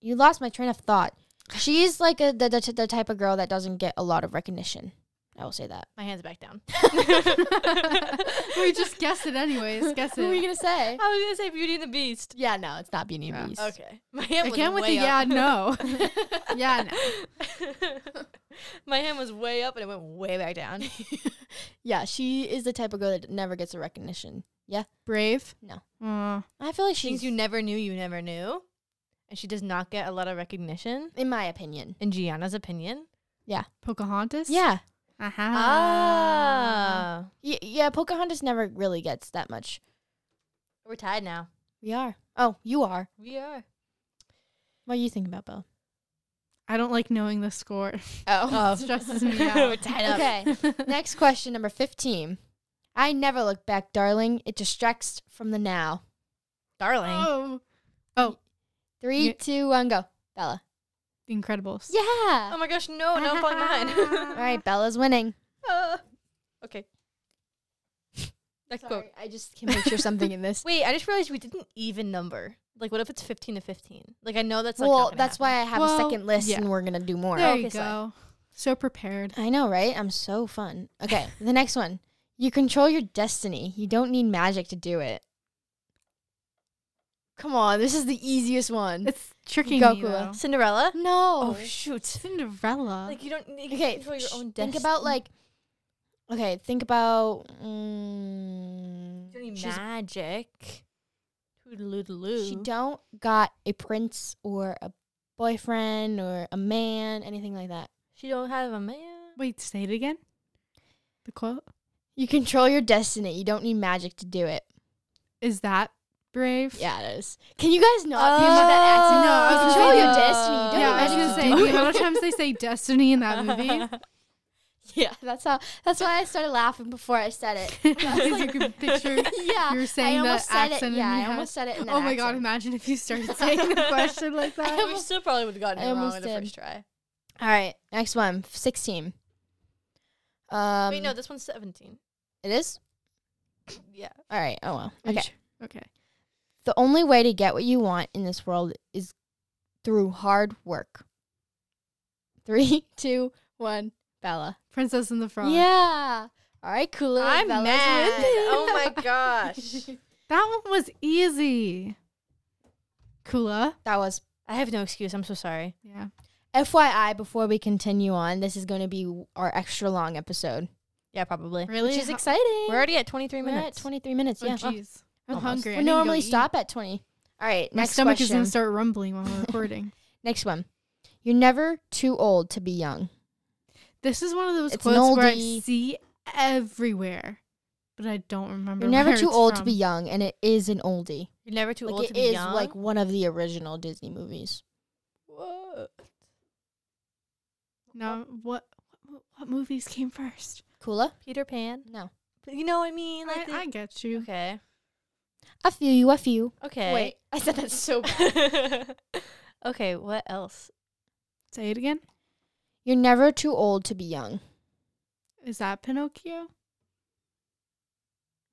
Speaker 1: you lost my train of thought. She's like a, the, the the type of girl that doesn't get a lot of recognition. I will say that.
Speaker 2: My hands back down.
Speaker 3: we just guess it anyways. Guess
Speaker 1: Who are you
Speaker 3: it.
Speaker 1: gonna say? Oh,
Speaker 2: I was gonna say Beauty and the Beast.
Speaker 1: yeah, no, it's not Beauty and
Speaker 3: Yeah.
Speaker 1: Beast.
Speaker 2: Okay, my hand was
Speaker 3: Again with the
Speaker 2: way
Speaker 3: yeah,
Speaker 2: up.
Speaker 3: no. yeah, no.
Speaker 2: my hand was way up and it went way back down.
Speaker 1: Yeah, she is the type of girl that never gets the recognition. Yeah,
Speaker 3: Brave?
Speaker 1: No.
Speaker 3: Uh,
Speaker 1: I feel like she's,
Speaker 2: Things you never knew you never knew, and she does not get a lot of recognition.
Speaker 1: in my opinion.
Speaker 2: In Gianna's opinion,
Speaker 3: Pocahontas?
Speaker 1: Yeah,
Speaker 3: Uh-huh.
Speaker 2: ah,
Speaker 1: y- yeah. Pocahontas never really gets that much.
Speaker 2: we're tied now.
Speaker 1: We are. Oh, you are.
Speaker 2: We are.
Speaker 1: What are you thinking about, Belle?
Speaker 3: I don't like knowing the score.
Speaker 1: Oh,
Speaker 3: stresses me out.
Speaker 2: we're tied up.
Speaker 1: okay. Next question, number 15. I never look back, darling. It distracts from the now.
Speaker 2: darling.
Speaker 3: Oh.
Speaker 1: Three,
Speaker 3: Yeah.
Speaker 1: two, one, go. Bella.
Speaker 3: The Incredibles.
Speaker 2: Oh
Speaker 1: Yeah.
Speaker 2: my gosh, no, no, I'm falling behind.
Speaker 1: All right, Bella's winning.
Speaker 2: Uh, okay. Next quote.
Speaker 1: Sorry, I just can picture something in this.
Speaker 2: Wait, I just realized we didn't even number. Like, what if it's 15 to 15? Like, I know that's like,
Speaker 1: well, that's why I have a
Speaker 3: Well,
Speaker 1: second list
Speaker 3: yeah.
Speaker 1: and we're going to do more.
Speaker 3: There
Speaker 2: Okay,
Speaker 3: you
Speaker 2: sorry.
Speaker 3: go. So prepared.
Speaker 1: I know, right? I'm so fun. Okay, the next one. You control your destiny. You don't need magic to do it. Come on, this is the easiest one.
Speaker 3: It's tricking me.
Speaker 1: Gokula.
Speaker 3: though.
Speaker 2: Cinderella? Oh,
Speaker 1: no.
Speaker 2: shoot.
Speaker 3: Cinderella.
Speaker 2: Like you don't need
Speaker 1: okay,
Speaker 2: control your
Speaker 1: sh-
Speaker 2: own destiny.
Speaker 1: think about like Okay, think about mm,
Speaker 2: You don't need
Speaker 1: she's-
Speaker 2: magic.
Speaker 1: she
Speaker 2: Toodaloo.
Speaker 1: don't got a prince or a boyfriend or a man, anything like that.
Speaker 2: She don't have a man.
Speaker 3: Wait, say it again. The quote
Speaker 1: You control your destiny. You don't need magic to do it.
Speaker 3: is that brave.
Speaker 1: Yeah, it is. Can you guys not give me that accent? You control
Speaker 3: No, I was gonna say-
Speaker 1: your destiny. You don't
Speaker 3: Oh.
Speaker 1: need
Speaker 3: Yeah, I was
Speaker 1: magic
Speaker 3: gonna
Speaker 1: to
Speaker 3: say.
Speaker 1: do
Speaker 3: The
Speaker 1: it.
Speaker 3: amount of times they say destiny in that movie,
Speaker 1: Yeah, that's how. That's why I started laughing before I said it.
Speaker 3: because you can picture.
Speaker 1: yeah,
Speaker 3: You're
Speaker 1: I
Speaker 3: saying that
Speaker 1: almost said
Speaker 3: accent.
Speaker 1: it.
Speaker 3: in
Speaker 1: Yeah, I
Speaker 3: your
Speaker 1: almost said it. In that
Speaker 3: Oh my god!
Speaker 1: accent.
Speaker 3: Imagine if you started saying the question like that.
Speaker 2: we still probably would have gotten
Speaker 1: I
Speaker 2: it wrong
Speaker 1: almost
Speaker 2: with the
Speaker 1: did.
Speaker 2: first try.
Speaker 1: All right, next one. Sixteen. Um,
Speaker 2: Wait, no, this one's 17.
Speaker 1: it is.
Speaker 2: Yeah.
Speaker 1: All right. Oh well. Okay.
Speaker 3: Okay.
Speaker 1: The only way to get what you want in this world is through hard work. Three, two, one. Bella.
Speaker 3: Princess and the Frog.
Speaker 1: Yeah. All right, cool. little
Speaker 2: I'm
Speaker 1: Bella's
Speaker 2: mad.
Speaker 1: with it.
Speaker 2: oh my gosh.
Speaker 3: That one was easy. Kula.
Speaker 1: That was
Speaker 2: I have no excuse. I'm so sorry.
Speaker 3: Yeah.
Speaker 1: FYI. Before we continue on, this is going to be our extra long episode,
Speaker 2: Yeah, probably.
Speaker 3: Really?
Speaker 1: which is
Speaker 3: Ho-
Speaker 1: exciting.
Speaker 2: We're already at 23
Speaker 1: We're
Speaker 2: minutes.
Speaker 1: at 23 minutes.
Speaker 3: Oh,
Speaker 1: yeah.
Speaker 3: jeez. I'm
Speaker 1: Almost.
Speaker 3: hungry. I
Speaker 1: We
Speaker 3: need to go
Speaker 1: normally
Speaker 3: eat.
Speaker 1: stop at 20. All right,
Speaker 3: My
Speaker 1: next
Speaker 3: stomach is
Speaker 1: question.
Speaker 3: gonna start rumbling while we're recording.
Speaker 1: next one. You're never too old to be young.
Speaker 3: This is one of those
Speaker 1: It's an
Speaker 3: quotes where I
Speaker 1: oldie.
Speaker 3: see everywhere, but I don't remember.
Speaker 1: You're never
Speaker 3: where
Speaker 1: too
Speaker 3: it's
Speaker 1: old to
Speaker 3: from.
Speaker 1: be young, and it is an oldie.
Speaker 2: You're never too old
Speaker 1: like it
Speaker 2: to
Speaker 1: is
Speaker 2: be young.
Speaker 1: like one of the original Disney movies.
Speaker 2: Whoa.
Speaker 3: No, what what, what movies came first?
Speaker 1: Kula?
Speaker 2: Peter Pan.
Speaker 1: No.
Speaker 2: But you know what I mean?
Speaker 3: I,
Speaker 2: Like the-
Speaker 3: I get you.
Speaker 2: okay.
Speaker 1: A few, you a few.
Speaker 2: Okay.
Speaker 1: Wait, I said that so bad.
Speaker 2: okay, what else?
Speaker 3: Say it again.
Speaker 1: You're never too old to be young.
Speaker 3: Is that Pinocchio?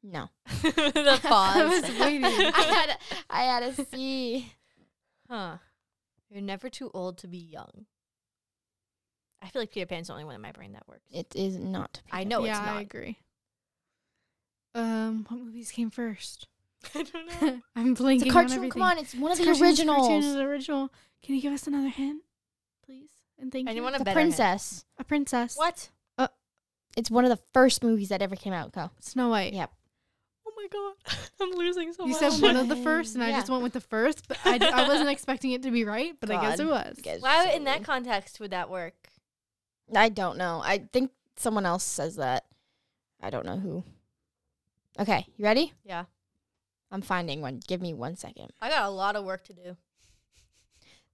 Speaker 1: No.
Speaker 2: the
Speaker 3: I was waiting.
Speaker 1: I had a, I had a C.
Speaker 2: Huh. You're never too old to be young. I feel like Peter Pan's the only one in my brain that works.
Speaker 1: It is not.
Speaker 2: I know
Speaker 3: yeah,
Speaker 2: it's not.
Speaker 3: I agree. Um, what movies came first?
Speaker 2: I don't know.
Speaker 3: I'm
Speaker 1: It's
Speaker 3: blinking
Speaker 1: a
Speaker 3: on
Speaker 1: cartoon.
Speaker 3: everything.
Speaker 1: Come on, it's one of
Speaker 3: It's
Speaker 1: the
Speaker 3: cartoons, cartoon,
Speaker 1: originals.
Speaker 3: it's original. Can you give us another hint, please? And thank
Speaker 2: Anyone
Speaker 3: you.
Speaker 2: a
Speaker 1: the
Speaker 2: better hint?
Speaker 1: princess.
Speaker 3: A princess.
Speaker 2: What?
Speaker 1: It's one of the first movies that ever came out. Go.
Speaker 3: Snow White.
Speaker 1: Yeah.
Speaker 2: Oh my god. I'm losing so
Speaker 3: You
Speaker 2: much.
Speaker 3: said one of the
Speaker 1: my-
Speaker 3: first, and I
Speaker 1: yeah.
Speaker 3: just went with the first. But I, I wasn't expecting it to be right, but I guess
Speaker 1: God.
Speaker 3: it was.
Speaker 1: Guys are
Speaker 2: Why
Speaker 1: so
Speaker 2: in that
Speaker 1: rude.
Speaker 2: context would that work?
Speaker 1: I don't know. I think someone else says that. I don't know who. Okay, you ready?
Speaker 2: Yeah.
Speaker 1: I'm finding one. Give me one second.
Speaker 2: I got a lot of work to do.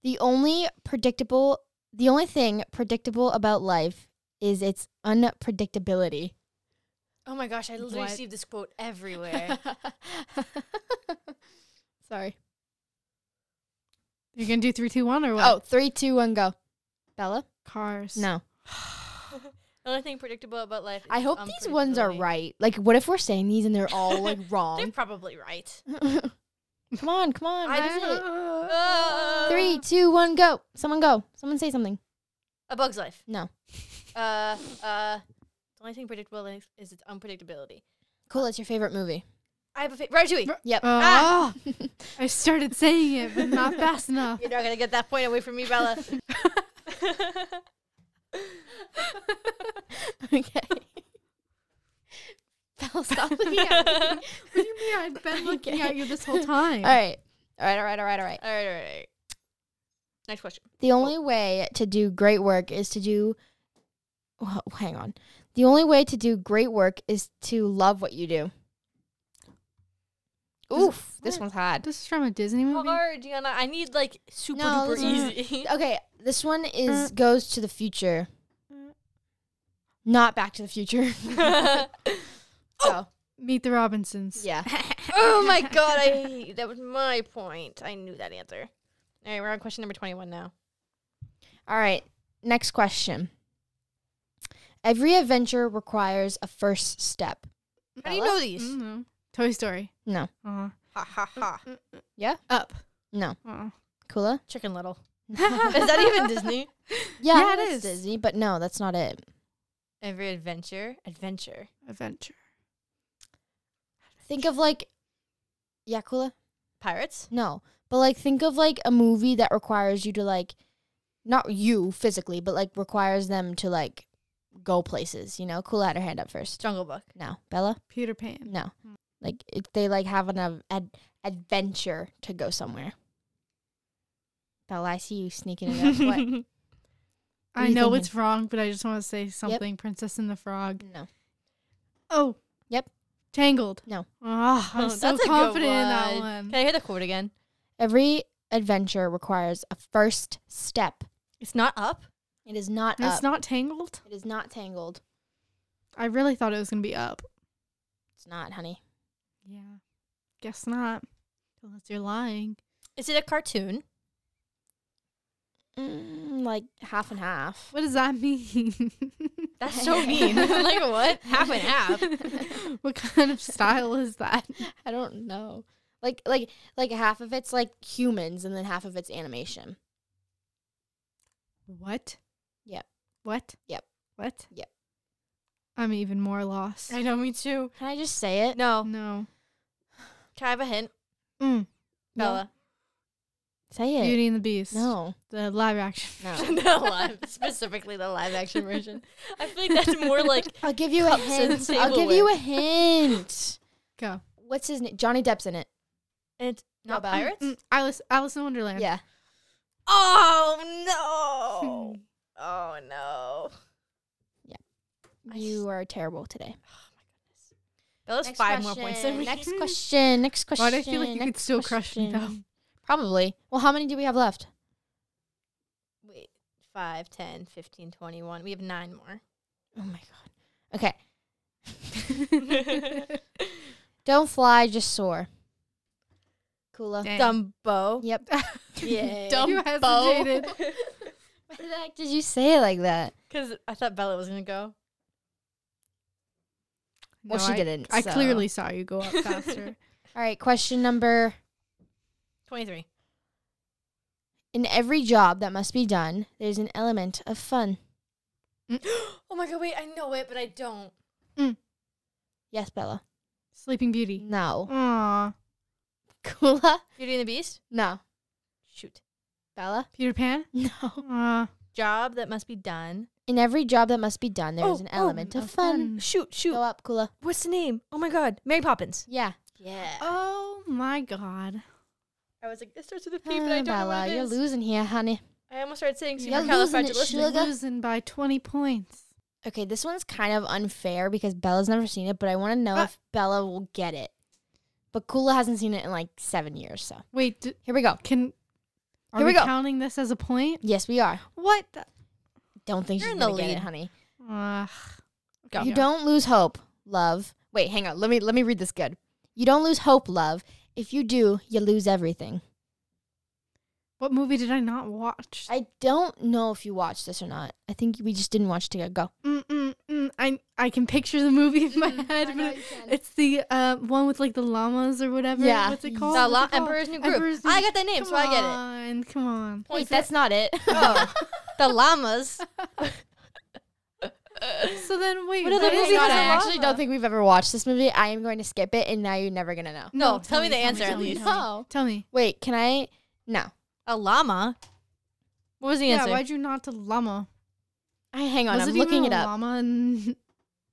Speaker 1: The only predictable, the only thing predictable about life is its unpredictability.
Speaker 2: Oh my gosh, I literally
Speaker 3: What?
Speaker 2: see this quote everywhere.
Speaker 1: Sorry.
Speaker 3: You're gonna do three, two, one, or what?
Speaker 1: Oh, three, two, one, go. Bella?
Speaker 3: cars.
Speaker 1: No.
Speaker 2: the only thing predictable about life. is
Speaker 1: I hope these ones are
Speaker 2: unpredictability.
Speaker 1: right. Like, what if we're saying these and they're all like
Speaker 2: They're
Speaker 1: wrong?
Speaker 2: probably right.
Speaker 1: come on, come on.
Speaker 2: I
Speaker 1: what
Speaker 2: just-
Speaker 1: is it?
Speaker 3: Uh,
Speaker 2: Ah.
Speaker 1: Three, two, one, go. Someone go. Someone say something.
Speaker 2: A Bug's Life.
Speaker 1: No.
Speaker 2: Uh, uh, the only thing predictable is, is its unpredictability.
Speaker 1: Cool, it's your favorite movie.
Speaker 2: I have a fa- Ratatouille.
Speaker 3: Ra-
Speaker 1: Yep.
Speaker 3: Ah, I started saying it, but not fast enough.
Speaker 2: You're not gonna get that point away from me, Bella.
Speaker 1: okay. Bella, stop looking at me.
Speaker 3: What do you mean? I've been looking
Speaker 1: Okay.
Speaker 3: at you this whole time.
Speaker 1: all right. All right, all right, all right, all right.
Speaker 2: all right, all right, all right. Next question.
Speaker 1: The only way to do great work is to do. Well, hang on. The only way to do great work is to love what you do.
Speaker 3: This-
Speaker 1: Oof, this
Speaker 3: what?
Speaker 1: one's hard.
Speaker 3: This is from a Disney movie.
Speaker 2: Hard, Gianna. I need like super
Speaker 1: No,
Speaker 2: duper
Speaker 1: this one-
Speaker 2: easy.
Speaker 1: Okay, this one is
Speaker 3: Uh.
Speaker 1: goes to the future,
Speaker 3: Uh.
Speaker 1: not Back to the Future. oh,
Speaker 3: Meet the Robinsons.
Speaker 1: yeah.
Speaker 2: oh my god, I hate you. that was my point. I knew that answer. All right, we're on question number twenty-one now.
Speaker 1: All right. Next question. Every adventure requires a first step.
Speaker 2: How do you
Speaker 1: Bella? Mm.
Speaker 2: know these?
Speaker 3: Mhm. Toy Story.
Speaker 1: No.
Speaker 3: Uh,
Speaker 2: Ha ha ha.
Speaker 1: Yeah?
Speaker 3: up.
Speaker 1: No.
Speaker 3: Uh,
Speaker 1: Kula?
Speaker 2: Chicken Little.
Speaker 1: no.
Speaker 3: Uh-huh.
Speaker 2: Is that even Disney?
Speaker 1: Yeah,
Speaker 3: Yeah,
Speaker 1: I know
Speaker 3: it
Speaker 1: that's
Speaker 3: is.
Speaker 1: Disney, but no, that's not it.
Speaker 2: Every adventure, adventure.
Speaker 3: Adventure.
Speaker 1: Think of like Yakula.
Speaker 2: Pirates?
Speaker 1: No, but like think of like a movie that requires you to like, not you physically, but like requires them to like go places. You know, cool had her hand up first.
Speaker 2: Jungle Book.
Speaker 1: No, Bella.
Speaker 3: Peter Pan.
Speaker 1: No, like it, they like have an av- ad- adventure to go somewhere. Bella, I see you sneaking it up. What?
Speaker 3: I
Speaker 1: are you
Speaker 3: know it's wrong, but I just want to say something. Princess and the Frog.
Speaker 1: No.
Speaker 3: Oh.
Speaker 1: Yep.
Speaker 3: Tangled.
Speaker 1: No.
Speaker 3: Ah, I'm
Speaker 2: Oh,
Speaker 3: so
Speaker 2: that's a good
Speaker 3: confident in that
Speaker 2: one.
Speaker 3: one.
Speaker 2: Can I hear the quote again?
Speaker 1: Every adventure requires a first step.
Speaker 2: It's not up.
Speaker 1: It is not
Speaker 3: And
Speaker 1: up.
Speaker 3: It's not Tangled.
Speaker 1: it is not tangled.
Speaker 3: I really thought it was gonna be up.
Speaker 1: It's not, honey.
Speaker 3: Yeah. Guess not. Unless you're lying.
Speaker 2: Is it a cartoon?
Speaker 1: Mm, like half and half.
Speaker 3: What does that mean?
Speaker 2: That's so mean. like what? Half and half.
Speaker 3: what kind of style is that?
Speaker 1: I don't know. Like like like half of it's like humans and then half of it's animation.
Speaker 3: What?
Speaker 1: Yep.
Speaker 3: What?
Speaker 1: Yep.
Speaker 3: What?
Speaker 1: Yep.
Speaker 3: I'm even more lost.
Speaker 2: I know, me too.
Speaker 1: Can I just say it?
Speaker 2: No.
Speaker 3: No.
Speaker 2: Can I have a hint?
Speaker 3: Mm.
Speaker 2: Bella.
Speaker 1: Say it.
Speaker 3: Beauty and the Beast.
Speaker 1: No.
Speaker 3: The live action.
Speaker 1: No.
Speaker 2: the live, specifically the live action version. I feel like that's more like
Speaker 1: I'll give you a
Speaker 2: Cups and
Speaker 1: hint. I'll give you a
Speaker 2: tableware.
Speaker 1: hint.
Speaker 3: Go.
Speaker 1: What's his name? Johnny Depp's in it.
Speaker 2: it's
Speaker 1: Not
Speaker 2: not
Speaker 1: bad.
Speaker 2: pirates.
Speaker 3: Mm, Alice, Alice in Wonderland.
Speaker 1: Yeah.
Speaker 2: Oh
Speaker 3: Hmm.
Speaker 2: no! Oh no! I
Speaker 1: You are terrible today.
Speaker 2: Bella's five more points than me.
Speaker 1: Next question. Next question.
Speaker 3: Hmm. Why do I feel like you could
Speaker 1: next
Speaker 3: still crush me though?
Speaker 1: question. Probably. Well, how many do we have left?
Speaker 2: Wait, five, ten, fifteen, twenty-one. We have nine more.
Speaker 1: Oh my god. Okay. Don't fly, just soar. Kula.
Speaker 3: Dang.
Speaker 2: Dumbo.
Speaker 1: Yep.
Speaker 2: Yeah.
Speaker 3: You hesitated.
Speaker 1: Why the heck did you say it like that?
Speaker 2: Because I thought Bella was gonna go.
Speaker 1: Well,
Speaker 3: No,
Speaker 1: she
Speaker 3: I-
Speaker 1: didn't.
Speaker 3: I
Speaker 1: so.
Speaker 3: clearly saw you go up faster.
Speaker 1: All right. Question number:
Speaker 2: Twenty-three.
Speaker 1: In every job that must be done, there's an element of fun.
Speaker 2: Oh my god! Wait, I know it, but I don't.
Speaker 1: Yes, Bella.
Speaker 3: Sleeping Beauty.
Speaker 1: No.
Speaker 3: Aw.
Speaker 1: Kula.
Speaker 2: Beauty and the Beast.
Speaker 1: No.
Speaker 2: Shoot.
Speaker 1: Bella.
Speaker 3: Peter Pan?
Speaker 1: No.
Speaker 3: Aw.
Speaker 2: Job that must be done.
Speaker 1: In every job that must be done, there is
Speaker 2: Oh,
Speaker 1: an
Speaker 2: oh,
Speaker 1: element of
Speaker 3: of
Speaker 1: fun.
Speaker 3: fun.
Speaker 2: Shoot, shoot.
Speaker 1: Go up, Kula.
Speaker 2: What's the name? Oh my god, Mary Poppins.
Speaker 1: Yeah. Yeah.
Speaker 3: Oh my god.
Speaker 2: I was like, this starts with a P, but I don't know
Speaker 1: Ah, Bella,
Speaker 2: what it
Speaker 1: you're
Speaker 2: is.
Speaker 1: losing here, honey.
Speaker 2: I almost started saying
Speaker 1: You're losing it,
Speaker 2: supercalifragilistic.
Speaker 1: Sugar.
Speaker 3: Losing by 20 points.
Speaker 1: Okay, this one's kind of unfair because Bella's never seen it, but I want to
Speaker 2: Ah.
Speaker 1: know
Speaker 3: Uh.
Speaker 1: if Bella will get it. But Kula hasn't seen it in like seven years, so
Speaker 3: Wait, d-
Speaker 1: here we go.
Speaker 3: can are
Speaker 1: Here we
Speaker 3: we,
Speaker 1: go.
Speaker 3: counting this as a point?
Speaker 1: Yes, we are.
Speaker 3: What? The-
Speaker 1: Don't think
Speaker 2: You're
Speaker 1: she's
Speaker 2: in the
Speaker 1: gonna get it,
Speaker 2: lead.
Speaker 1: honey.
Speaker 3: Ugh.
Speaker 2: Go.
Speaker 1: You don't lose hope, love. Wait, hang on. Let me let me read this good. You don't lose hope, love. If you do, you lose everything.
Speaker 3: What movie did I not watch?
Speaker 1: I don't know if you watched this or not. I think we just didn't watch it together. Go.
Speaker 3: Mm, mm, mm. I I can picture the movie in my head, but it's the uh, one with like the llamas or whatever.
Speaker 1: Yeah.
Speaker 3: What's it called?
Speaker 2: The
Speaker 3: What's it
Speaker 2: La-
Speaker 3: called?
Speaker 2: Emperor's New Group.
Speaker 3: Emperor's New-
Speaker 2: I got the name,
Speaker 3: come
Speaker 2: so I get it.
Speaker 3: on, come on.
Speaker 1: Wait, that's not it.
Speaker 2: Oh, the llamas.
Speaker 3: So then wait,
Speaker 2: What other
Speaker 3: is
Speaker 2: movie
Speaker 3: it?
Speaker 2: was
Speaker 1: I
Speaker 2: a
Speaker 1: actually
Speaker 2: llama.
Speaker 1: don't think we've ever watched this movie. I am going to skip it, and now you're never gonna know. Oh.
Speaker 2: No, tell me the answer
Speaker 3: tell
Speaker 2: at
Speaker 3: me,
Speaker 2: least.
Speaker 3: Tell me. Tell me.
Speaker 1: Wait, can I? No.
Speaker 2: A llama. What was the
Speaker 3: Yeah,
Speaker 2: answer?
Speaker 3: why'd you not to llama?
Speaker 1: I hang on.
Speaker 3: Was
Speaker 1: I'm
Speaker 3: it
Speaker 1: looking
Speaker 3: even
Speaker 1: it
Speaker 3: a
Speaker 1: up.
Speaker 3: Llama and-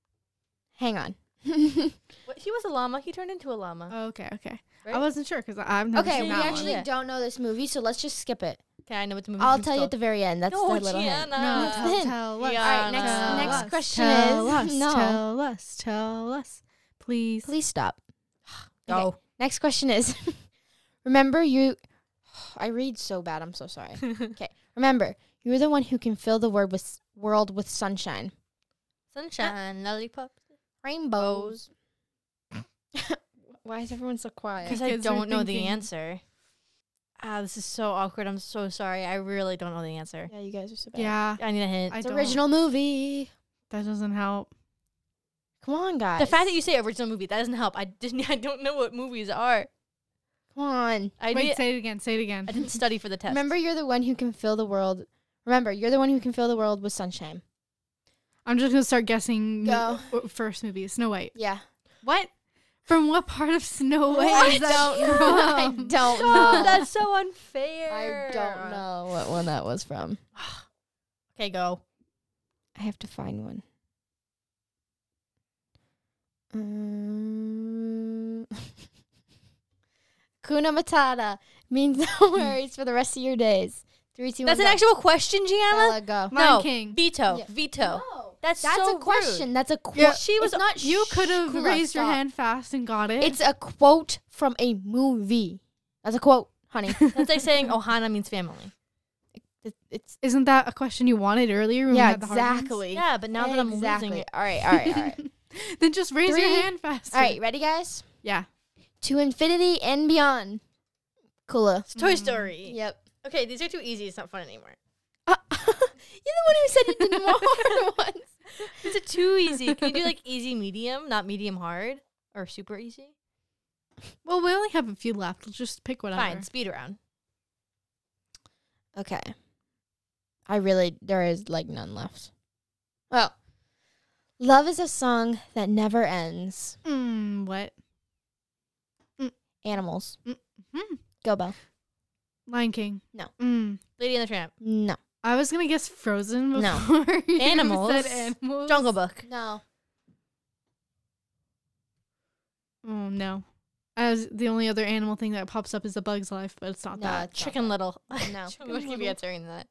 Speaker 1: Hang on.
Speaker 2: What- he was a llama. He turned into a llama.
Speaker 3: okay, okay.
Speaker 2: Right?
Speaker 3: I wasn't sure because I've never
Speaker 1: okay, we
Speaker 3: seen that one.
Speaker 1: actually
Speaker 2: Yeah.
Speaker 1: don't know this movie, so let's just skip it.
Speaker 2: Okay, I know what the movie
Speaker 1: I'll
Speaker 2: was
Speaker 1: tell you at
Speaker 2: called.
Speaker 1: the very end. That's
Speaker 2: No,
Speaker 1: the little hint.
Speaker 2: Gianna.
Speaker 3: No,
Speaker 2: Uh,
Speaker 3: tell,
Speaker 1: then-
Speaker 3: tell us.
Speaker 2: Yeah,
Speaker 1: All right, next
Speaker 2: Tell
Speaker 1: next
Speaker 2: us,
Speaker 1: question
Speaker 3: tell
Speaker 1: is
Speaker 3: us,
Speaker 1: no.
Speaker 3: Tell us, tell us, please.
Speaker 1: Please stop.
Speaker 2: Go.
Speaker 1: Okay, Next question is Remember you I read so bad, I'm so sorry. okay. Remember, you're the one who can fill the word with world with sunshine.
Speaker 2: Sunshine, lollipop.
Speaker 1: Rainbows. Why is everyone so quiet?
Speaker 2: Because I
Speaker 3: Kids were
Speaker 2: don't know the
Speaker 3: thinking.
Speaker 2: answer. Ah, this is so awkward. I'm so sorry. I really don't know the answer.
Speaker 1: Yeah, you guys are so bad.
Speaker 3: Yeah,
Speaker 2: I need a hint.
Speaker 3: I
Speaker 1: It's
Speaker 3: don't-
Speaker 1: original movie.
Speaker 3: That doesn't help.
Speaker 1: Come on, guys.
Speaker 2: the fact that you say original movie that doesn't help. I didn't. I don't know what movies are.
Speaker 1: Come on.
Speaker 2: I
Speaker 3: Wait,
Speaker 2: did,
Speaker 3: say it again. Say it again.
Speaker 2: I didn't study for the test.
Speaker 1: Remember, you're the one who can fill the world. Remember, you're the one who can fill the world with sunshine.
Speaker 3: I'm just gonna start guessing.
Speaker 1: Go.
Speaker 3: mo- First movie, Snow White.
Speaker 1: Yeah.
Speaker 3: What? From what part of Snow White?
Speaker 1: I
Speaker 3: is that
Speaker 1: don't know. I
Speaker 3: from?
Speaker 1: don't
Speaker 2: Oh,
Speaker 1: know.
Speaker 2: that's so unfair.
Speaker 1: I don't know what one that was from.
Speaker 2: Okay, go.
Speaker 1: I have to find one. Um, Kuna Matata means no worries for the rest of your days. Three, two,
Speaker 2: That's an
Speaker 1: one, go.
Speaker 2: actual question, Gianna.
Speaker 1: Bella, go.
Speaker 3: Lion
Speaker 2: no,
Speaker 3: King.
Speaker 2: veto,
Speaker 1: Yeah.
Speaker 2: veto.
Speaker 1: No.
Speaker 2: Oh, That's
Speaker 1: Oh, That's
Speaker 2: so
Speaker 1: a question.
Speaker 2: rude.
Speaker 1: That's a quote.
Speaker 2: Yeah. She was-
Speaker 1: It's not.
Speaker 3: You
Speaker 1: sh-
Speaker 3: could have
Speaker 1: Kula,
Speaker 3: raised your
Speaker 1: stop.
Speaker 3: hand fast and got it.
Speaker 1: It's a quote from a movie. That's a quote, honey.
Speaker 2: That's like saying Ohana means family.
Speaker 1: It- it's
Speaker 3: Isn't that a question you wanted earlier? When we
Speaker 1: yeah,
Speaker 3: had the hard ones?
Speaker 1: exactly.
Speaker 2: Yeah, but now that I'm losing it,
Speaker 1: All right, all right, all right.
Speaker 3: Then just raise your
Speaker 1: Three.
Speaker 3: hand fast.
Speaker 1: all right, ready, guys?
Speaker 3: Yeah.
Speaker 1: To infinity and beyond. Kula.
Speaker 2: it's
Speaker 3: Mm-hmm.
Speaker 2: Toy Story.
Speaker 1: Yep.
Speaker 2: Okay, these are too easy. It's not fun anymore.
Speaker 1: Uh, You're the one who said you did more hard ones.
Speaker 2: These are too easy. Can you do like easy medium, not medium hard, or super easy?
Speaker 3: Well, we only have a few left. We'll just pick whatever.
Speaker 2: Fine, speed around.
Speaker 1: Okay. I really, there is like none left. Well, love is a song that never ends.
Speaker 3: Mm, what?
Speaker 1: Animals.
Speaker 3: Hmm.
Speaker 1: Go, Bell.
Speaker 3: Lion King.
Speaker 1: No.
Speaker 3: Mm.
Speaker 2: Lady and the Tramp,
Speaker 1: No.
Speaker 3: I was gonna guess Frozen
Speaker 1: No.
Speaker 3: before you
Speaker 2: Animals.
Speaker 3: said animals.
Speaker 2: Jungle Book,
Speaker 1: No.
Speaker 3: Oh no. As the only other animal thing that pops up is a bug's life, but it's not
Speaker 1: No,
Speaker 3: that.
Speaker 1: it's not that.
Speaker 2: Chicken Little.
Speaker 1: No.
Speaker 2: Chicken Little.
Speaker 3: Little.
Speaker 2: be answering that.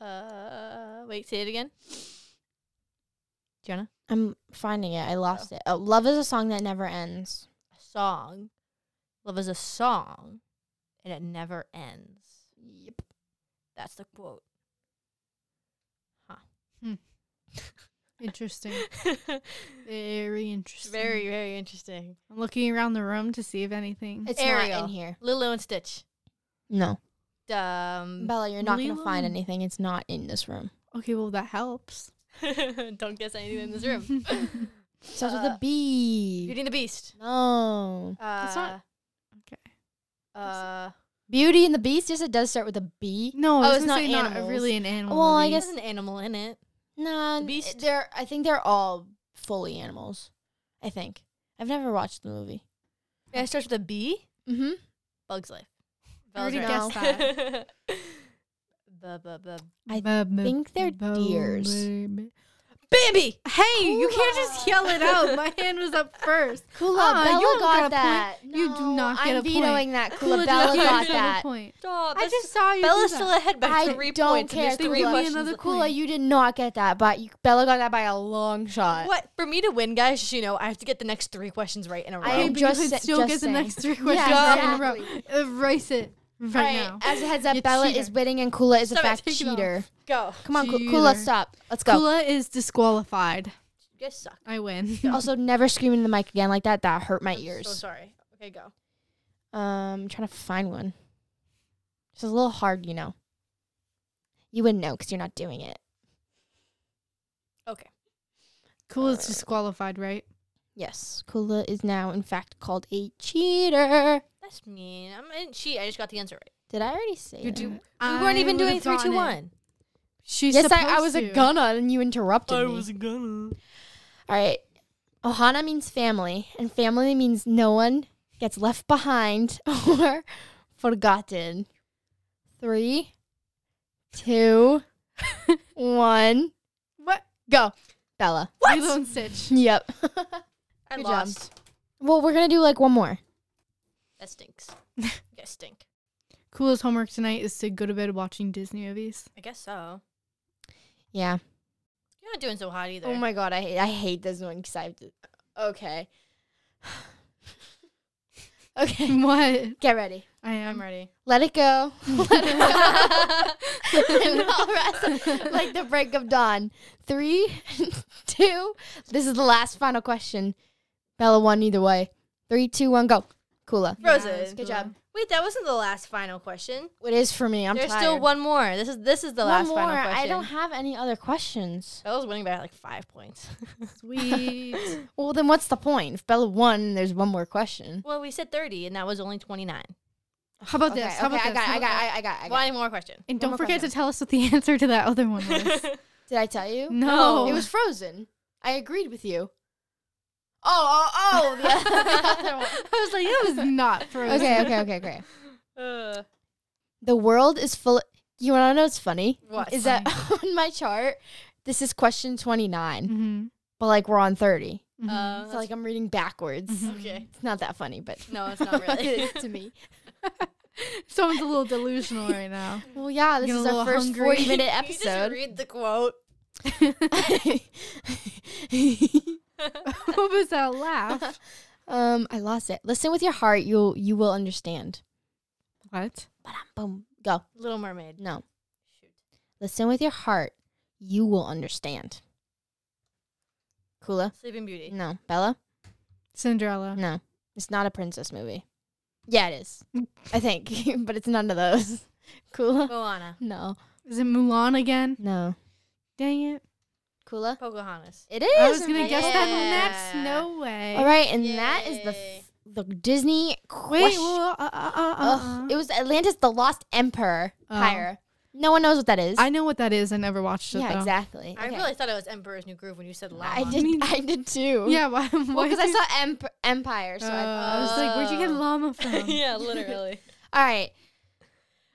Speaker 2: Uh, wait, say it again. Jenna,
Speaker 1: I'm finding it. I lost it. Oh, love is a song that never ends.
Speaker 2: a song. Love is a song, and it never ends.
Speaker 1: Yep.
Speaker 2: That's the quote.
Speaker 3: Interesting. Very interesting.
Speaker 2: very, very interesting.
Speaker 3: I'm looking around the room to see if anything.
Speaker 1: It's
Speaker 2: Ariel.
Speaker 1: not in here.
Speaker 2: Lilo and Stitch.
Speaker 1: No.
Speaker 2: Um,
Speaker 1: Bella, you're not going to
Speaker 3: Lilo.
Speaker 1: find anything. It's not in this room.
Speaker 3: okay, well that helps.
Speaker 2: don't guess anything in this room.
Speaker 1: Starts with
Speaker 2: Uh,
Speaker 1: a B.
Speaker 2: Beauty and the Beast.
Speaker 1: No.
Speaker 2: Uh,
Speaker 3: not- Okay.
Speaker 2: Uh,
Speaker 1: Beauty and the Beast. Yes, it does start with a B.
Speaker 3: No, I
Speaker 1: Oh,
Speaker 3: was
Speaker 1: it's
Speaker 3: gonna
Speaker 1: not
Speaker 3: say not a-
Speaker 1: animals.
Speaker 3: really an animal.
Speaker 1: Well, I
Speaker 3: movie.
Speaker 1: guess-
Speaker 2: there's an animal in it.
Speaker 1: No,
Speaker 2: The
Speaker 1: n-
Speaker 2: Beast?
Speaker 1: They're. I think they're all fully animals. I think. I've never watched the movie.
Speaker 2: Yeah, it starts with a B.
Speaker 1: Mm-hmm.
Speaker 2: Bug's Life.
Speaker 3: I already
Speaker 1: Bells
Speaker 3: guessed that.
Speaker 2: Bu- bu- bu-
Speaker 1: I
Speaker 3: Bub-
Speaker 1: think they're
Speaker 3: bub-
Speaker 1: deers.
Speaker 3: bub-
Speaker 2: Bambi.
Speaker 3: Hey, you can't just yell it out. My hand was up first.
Speaker 1: Kula,
Speaker 3: Uh-uh, you
Speaker 1: Ah, Bella
Speaker 3: don't get a
Speaker 1: got
Speaker 3: point.
Speaker 1: that.
Speaker 3: You do
Speaker 1: No,
Speaker 3: not get
Speaker 1: I'm
Speaker 3: a point.
Speaker 1: vetoing that.
Speaker 3: Kula
Speaker 1: Kula,
Speaker 3: did
Speaker 1: Bella
Speaker 3: not
Speaker 1: got
Speaker 3: get a
Speaker 1: that.
Speaker 3: point.
Speaker 2: Stop.
Speaker 3: I
Speaker 2: that's-
Speaker 3: just saw you.
Speaker 2: Bella's
Speaker 3: do
Speaker 2: still
Speaker 3: that.
Speaker 2: ahead by
Speaker 1: I
Speaker 2: three
Speaker 1: don't
Speaker 2: points. and
Speaker 1: care,
Speaker 2: there's
Speaker 1: Kula.
Speaker 2: Three
Speaker 1: Give me
Speaker 2: questions
Speaker 3: another
Speaker 2: left.
Speaker 3: clue.
Speaker 1: Kula, you did not get that, but you, Bella got that by a long shot.
Speaker 2: What? For me to win, guys, you know, I have to get the next three questions right in a row.
Speaker 1: I
Speaker 3: Okay,
Speaker 1: am
Speaker 3: but
Speaker 1: just
Speaker 3: you could
Speaker 1: sa-
Speaker 3: still
Speaker 1: just
Speaker 3: get
Speaker 1: saying.
Speaker 3: the next three
Speaker 1: Yeah,
Speaker 3: questions right in a row. Erase it right,
Speaker 1: All right,
Speaker 3: now.
Speaker 1: As a heads up,
Speaker 3: You
Speaker 1: Bella
Speaker 3: cheater.
Speaker 1: is winning and Kula is a
Speaker 2: Stop it,
Speaker 1: fact
Speaker 3: take it off.
Speaker 1: cheater.
Speaker 2: Go.
Speaker 1: Come on, Ku-
Speaker 3: Cheater.
Speaker 1: Kula, stop. Let's go.
Speaker 3: Kula is disqualified.
Speaker 2: You guys suck.
Speaker 3: I win.
Speaker 1: Also, never scream in the mic again like that. That hurt my
Speaker 2: I'm
Speaker 1: ears.
Speaker 2: So sorry. Okay, go.
Speaker 1: Um, I'm trying to find one. It's a little hard, you know. You wouldn't know because you're not doing it.
Speaker 2: Okay.
Speaker 3: Kula is disqualified, right?
Speaker 1: Yes, Kula is now, in fact, called a cheater.
Speaker 2: That's mean. I'm, I didn't cheat. I just got the answer right.
Speaker 1: Did I already say
Speaker 3: You
Speaker 1: that?
Speaker 3: do-
Speaker 2: We weren't even doing
Speaker 3: three,
Speaker 2: three, two, one.
Speaker 3: She's
Speaker 1: Yes, I,
Speaker 3: supposed
Speaker 1: I was a
Speaker 3: to.
Speaker 1: gunna and you interrupted me.
Speaker 2: gonna.
Speaker 1: All right. Ohana means family, and family means no one gets left behind or forgotten. Three, two, one,
Speaker 3: What?
Speaker 1: go. Bella.
Speaker 3: Lilo and Stitch.
Speaker 1: Yep.
Speaker 2: I
Speaker 1: Good job.
Speaker 2: lost.
Speaker 1: well, we're going to do like one more.
Speaker 2: That stinks. you guys stink.
Speaker 3: Kula's homework tonight is to go to bed watching Disney movies.
Speaker 2: I guess so.
Speaker 1: Yeah.
Speaker 2: You're not doing so hot either.
Speaker 1: Oh my god, I hate I hate this one because I've okay. okay,
Speaker 3: What?
Speaker 1: get ready.
Speaker 3: I am.
Speaker 2: I'm ready.
Speaker 1: Let it go. Let it go. and all rest, like the break of dawn. Three, two. This is the last final question. Bella won either way. Three, two, one, go. Kula.
Speaker 2: Roses.
Speaker 1: Good job.
Speaker 2: Wait, that wasn't the last final question.
Speaker 1: It is for me. I'm
Speaker 2: There's
Speaker 1: tired.
Speaker 2: still one more. This is this is the
Speaker 1: One
Speaker 2: last
Speaker 1: more.
Speaker 2: final question.
Speaker 1: I don't have any other questions.
Speaker 2: Bella's winning by like five points.
Speaker 3: Sweet.
Speaker 1: Well, then what's the point? If Bella won, there's one more question.
Speaker 2: well, we said 30, and that was only 29.
Speaker 3: How about
Speaker 1: Okay,
Speaker 3: this? How
Speaker 1: okay,
Speaker 3: about
Speaker 1: I
Speaker 3: this?
Speaker 1: got,
Speaker 3: How
Speaker 1: I
Speaker 3: about
Speaker 1: got,
Speaker 3: that?
Speaker 1: I, I got, I got.
Speaker 2: One more question.
Speaker 3: And
Speaker 1: One
Speaker 3: don't
Speaker 1: more
Speaker 3: forget
Speaker 1: question.
Speaker 3: to tell us what the answer to that other one was.
Speaker 1: Did I tell you?
Speaker 3: no.
Speaker 1: It was Frozen. I agreed with you. Oh, oh, oh! The other, the other one.
Speaker 3: I was like, that was not frozen.
Speaker 1: Okay, okay, okay, okay.
Speaker 2: uh,
Speaker 1: The world is full. You want to know what's funny?
Speaker 2: what
Speaker 1: is that on my chart? This is question 29,
Speaker 3: Mm-hmm.
Speaker 1: but like we're on 30.
Speaker 2: Uh,
Speaker 1: So like I'm reading backwards.
Speaker 3: Mhm.
Speaker 2: okay.
Speaker 1: It's not that funny, but
Speaker 2: No, Mm-hmm. it's not really.
Speaker 1: to me.
Speaker 3: Someone's a little delusional right now.
Speaker 1: Well, yeah, this
Speaker 3: Getting a
Speaker 1: is our
Speaker 3: little
Speaker 1: first
Speaker 3: hungry.
Speaker 1: 40 minute
Speaker 2: Can you just
Speaker 1: episode.
Speaker 2: read the quote.
Speaker 3: what was that laugh?
Speaker 1: um, I lost it. Listen with your heart. You'll you will understand.
Speaker 3: What?
Speaker 1: Boom. Go.
Speaker 2: Little Mermaid.
Speaker 1: No.
Speaker 2: Shoot.
Speaker 1: Listen with your heart. You will understand. Kula.
Speaker 2: Sleeping Beauty.
Speaker 1: No. Bella.
Speaker 3: Cinderella.
Speaker 1: No, it's not a princess movie. Yeah, it is. I think, but it's none of those. Kula?
Speaker 2: Moana.
Speaker 1: No.
Speaker 3: Is it Mulan again?
Speaker 1: No.
Speaker 3: Dang it.
Speaker 1: Kula?
Speaker 2: Pocahontas.
Speaker 1: It is.
Speaker 3: I was going to guess that
Speaker 1: yeah.
Speaker 3: one. That's no way.
Speaker 1: All right, and that is the
Speaker 2: Yay.
Speaker 1: f- the Disney
Speaker 3: Wait,
Speaker 1: question.
Speaker 3: well, uh, uh, uh, uh,
Speaker 1: Ugh, it was Atlantis the Lost Emperor.
Speaker 3: Oh.
Speaker 1: Higher. No one knows what that is.
Speaker 3: I know what that is. I never watched it,
Speaker 1: yeah,
Speaker 3: though.
Speaker 1: exactly.
Speaker 2: I
Speaker 1: Okay.
Speaker 2: really thought it was Emperor's New Groove when you said llama.
Speaker 1: I did. I did too.
Speaker 3: Yeah, why? Because
Speaker 1: Well, because I saw emp- Empire. So I,
Speaker 3: I was like, where'd you get
Speaker 2: Oh.
Speaker 3: llama from?
Speaker 2: yeah, literally.
Speaker 1: all right,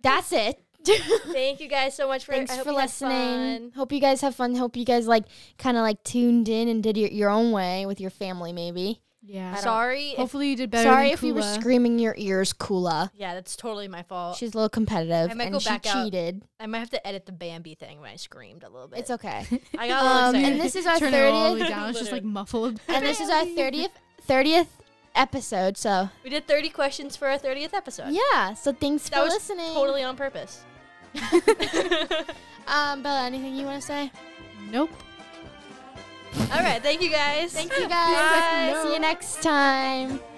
Speaker 1: that's it.
Speaker 2: Thank you guys so much for
Speaker 1: Thanks
Speaker 2: I hope
Speaker 1: for
Speaker 2: you had
Speaker 1: listening.
Speaker 2: fun.
Speaker 1: Hope you guys have fun. Hope you guys like kind of like tuned in and did your, your own way with your family, maybe.
Speaker 3: Yeah.
Speaker 1: don't-
Speaker 2: Sorry. If,
Speaker 3: Hopefully you did better.
Speaker 1: Sorry
Speaker 3: than
Speaker 1: if we were
Speaker 3: Kula.
Speaker 1: screaming your ears, Kula.
Speaker 2: yeah, that's totally my fault.
Speaker 1: She's a little competitive
Speaker 2: I might
Speaker 1: and
Speaker 2: go
Speaker 1: she
Speaker 2: back out.
Speaker 1: cheated.
Speaker 2: I might have to edit the Bambi thing when I screamed a little bit.
Speaker 1: It's okay.
Speaker 2: I got a little
Speaker 1: Um,
Speaker 2: excited.
Speaker 1: and this is our
Speaker 3: Turn it all the way
Speaker 1: 30th
Speaker 3: down. It's just like muffled.
Speaker 1: and this is our 30th 30th episode. So,
Speaker 2: we did 30 questions for our 30th episode.
Speaker 1: yeah. So thanks
Speaker 2: Uh, That
Speaker 1: for
Speaker 2: was
Speaker 1: listening.
Speaker 2: Totally on purpose.
Speaker 1: Um Bella, anything you want to say?
Speaker 3: Nope.
Speaker 2: All right. Thank you guys. Thank
Speaker 1: You guys,
Speaker 2: Bye.
Speaker 1: see you next time.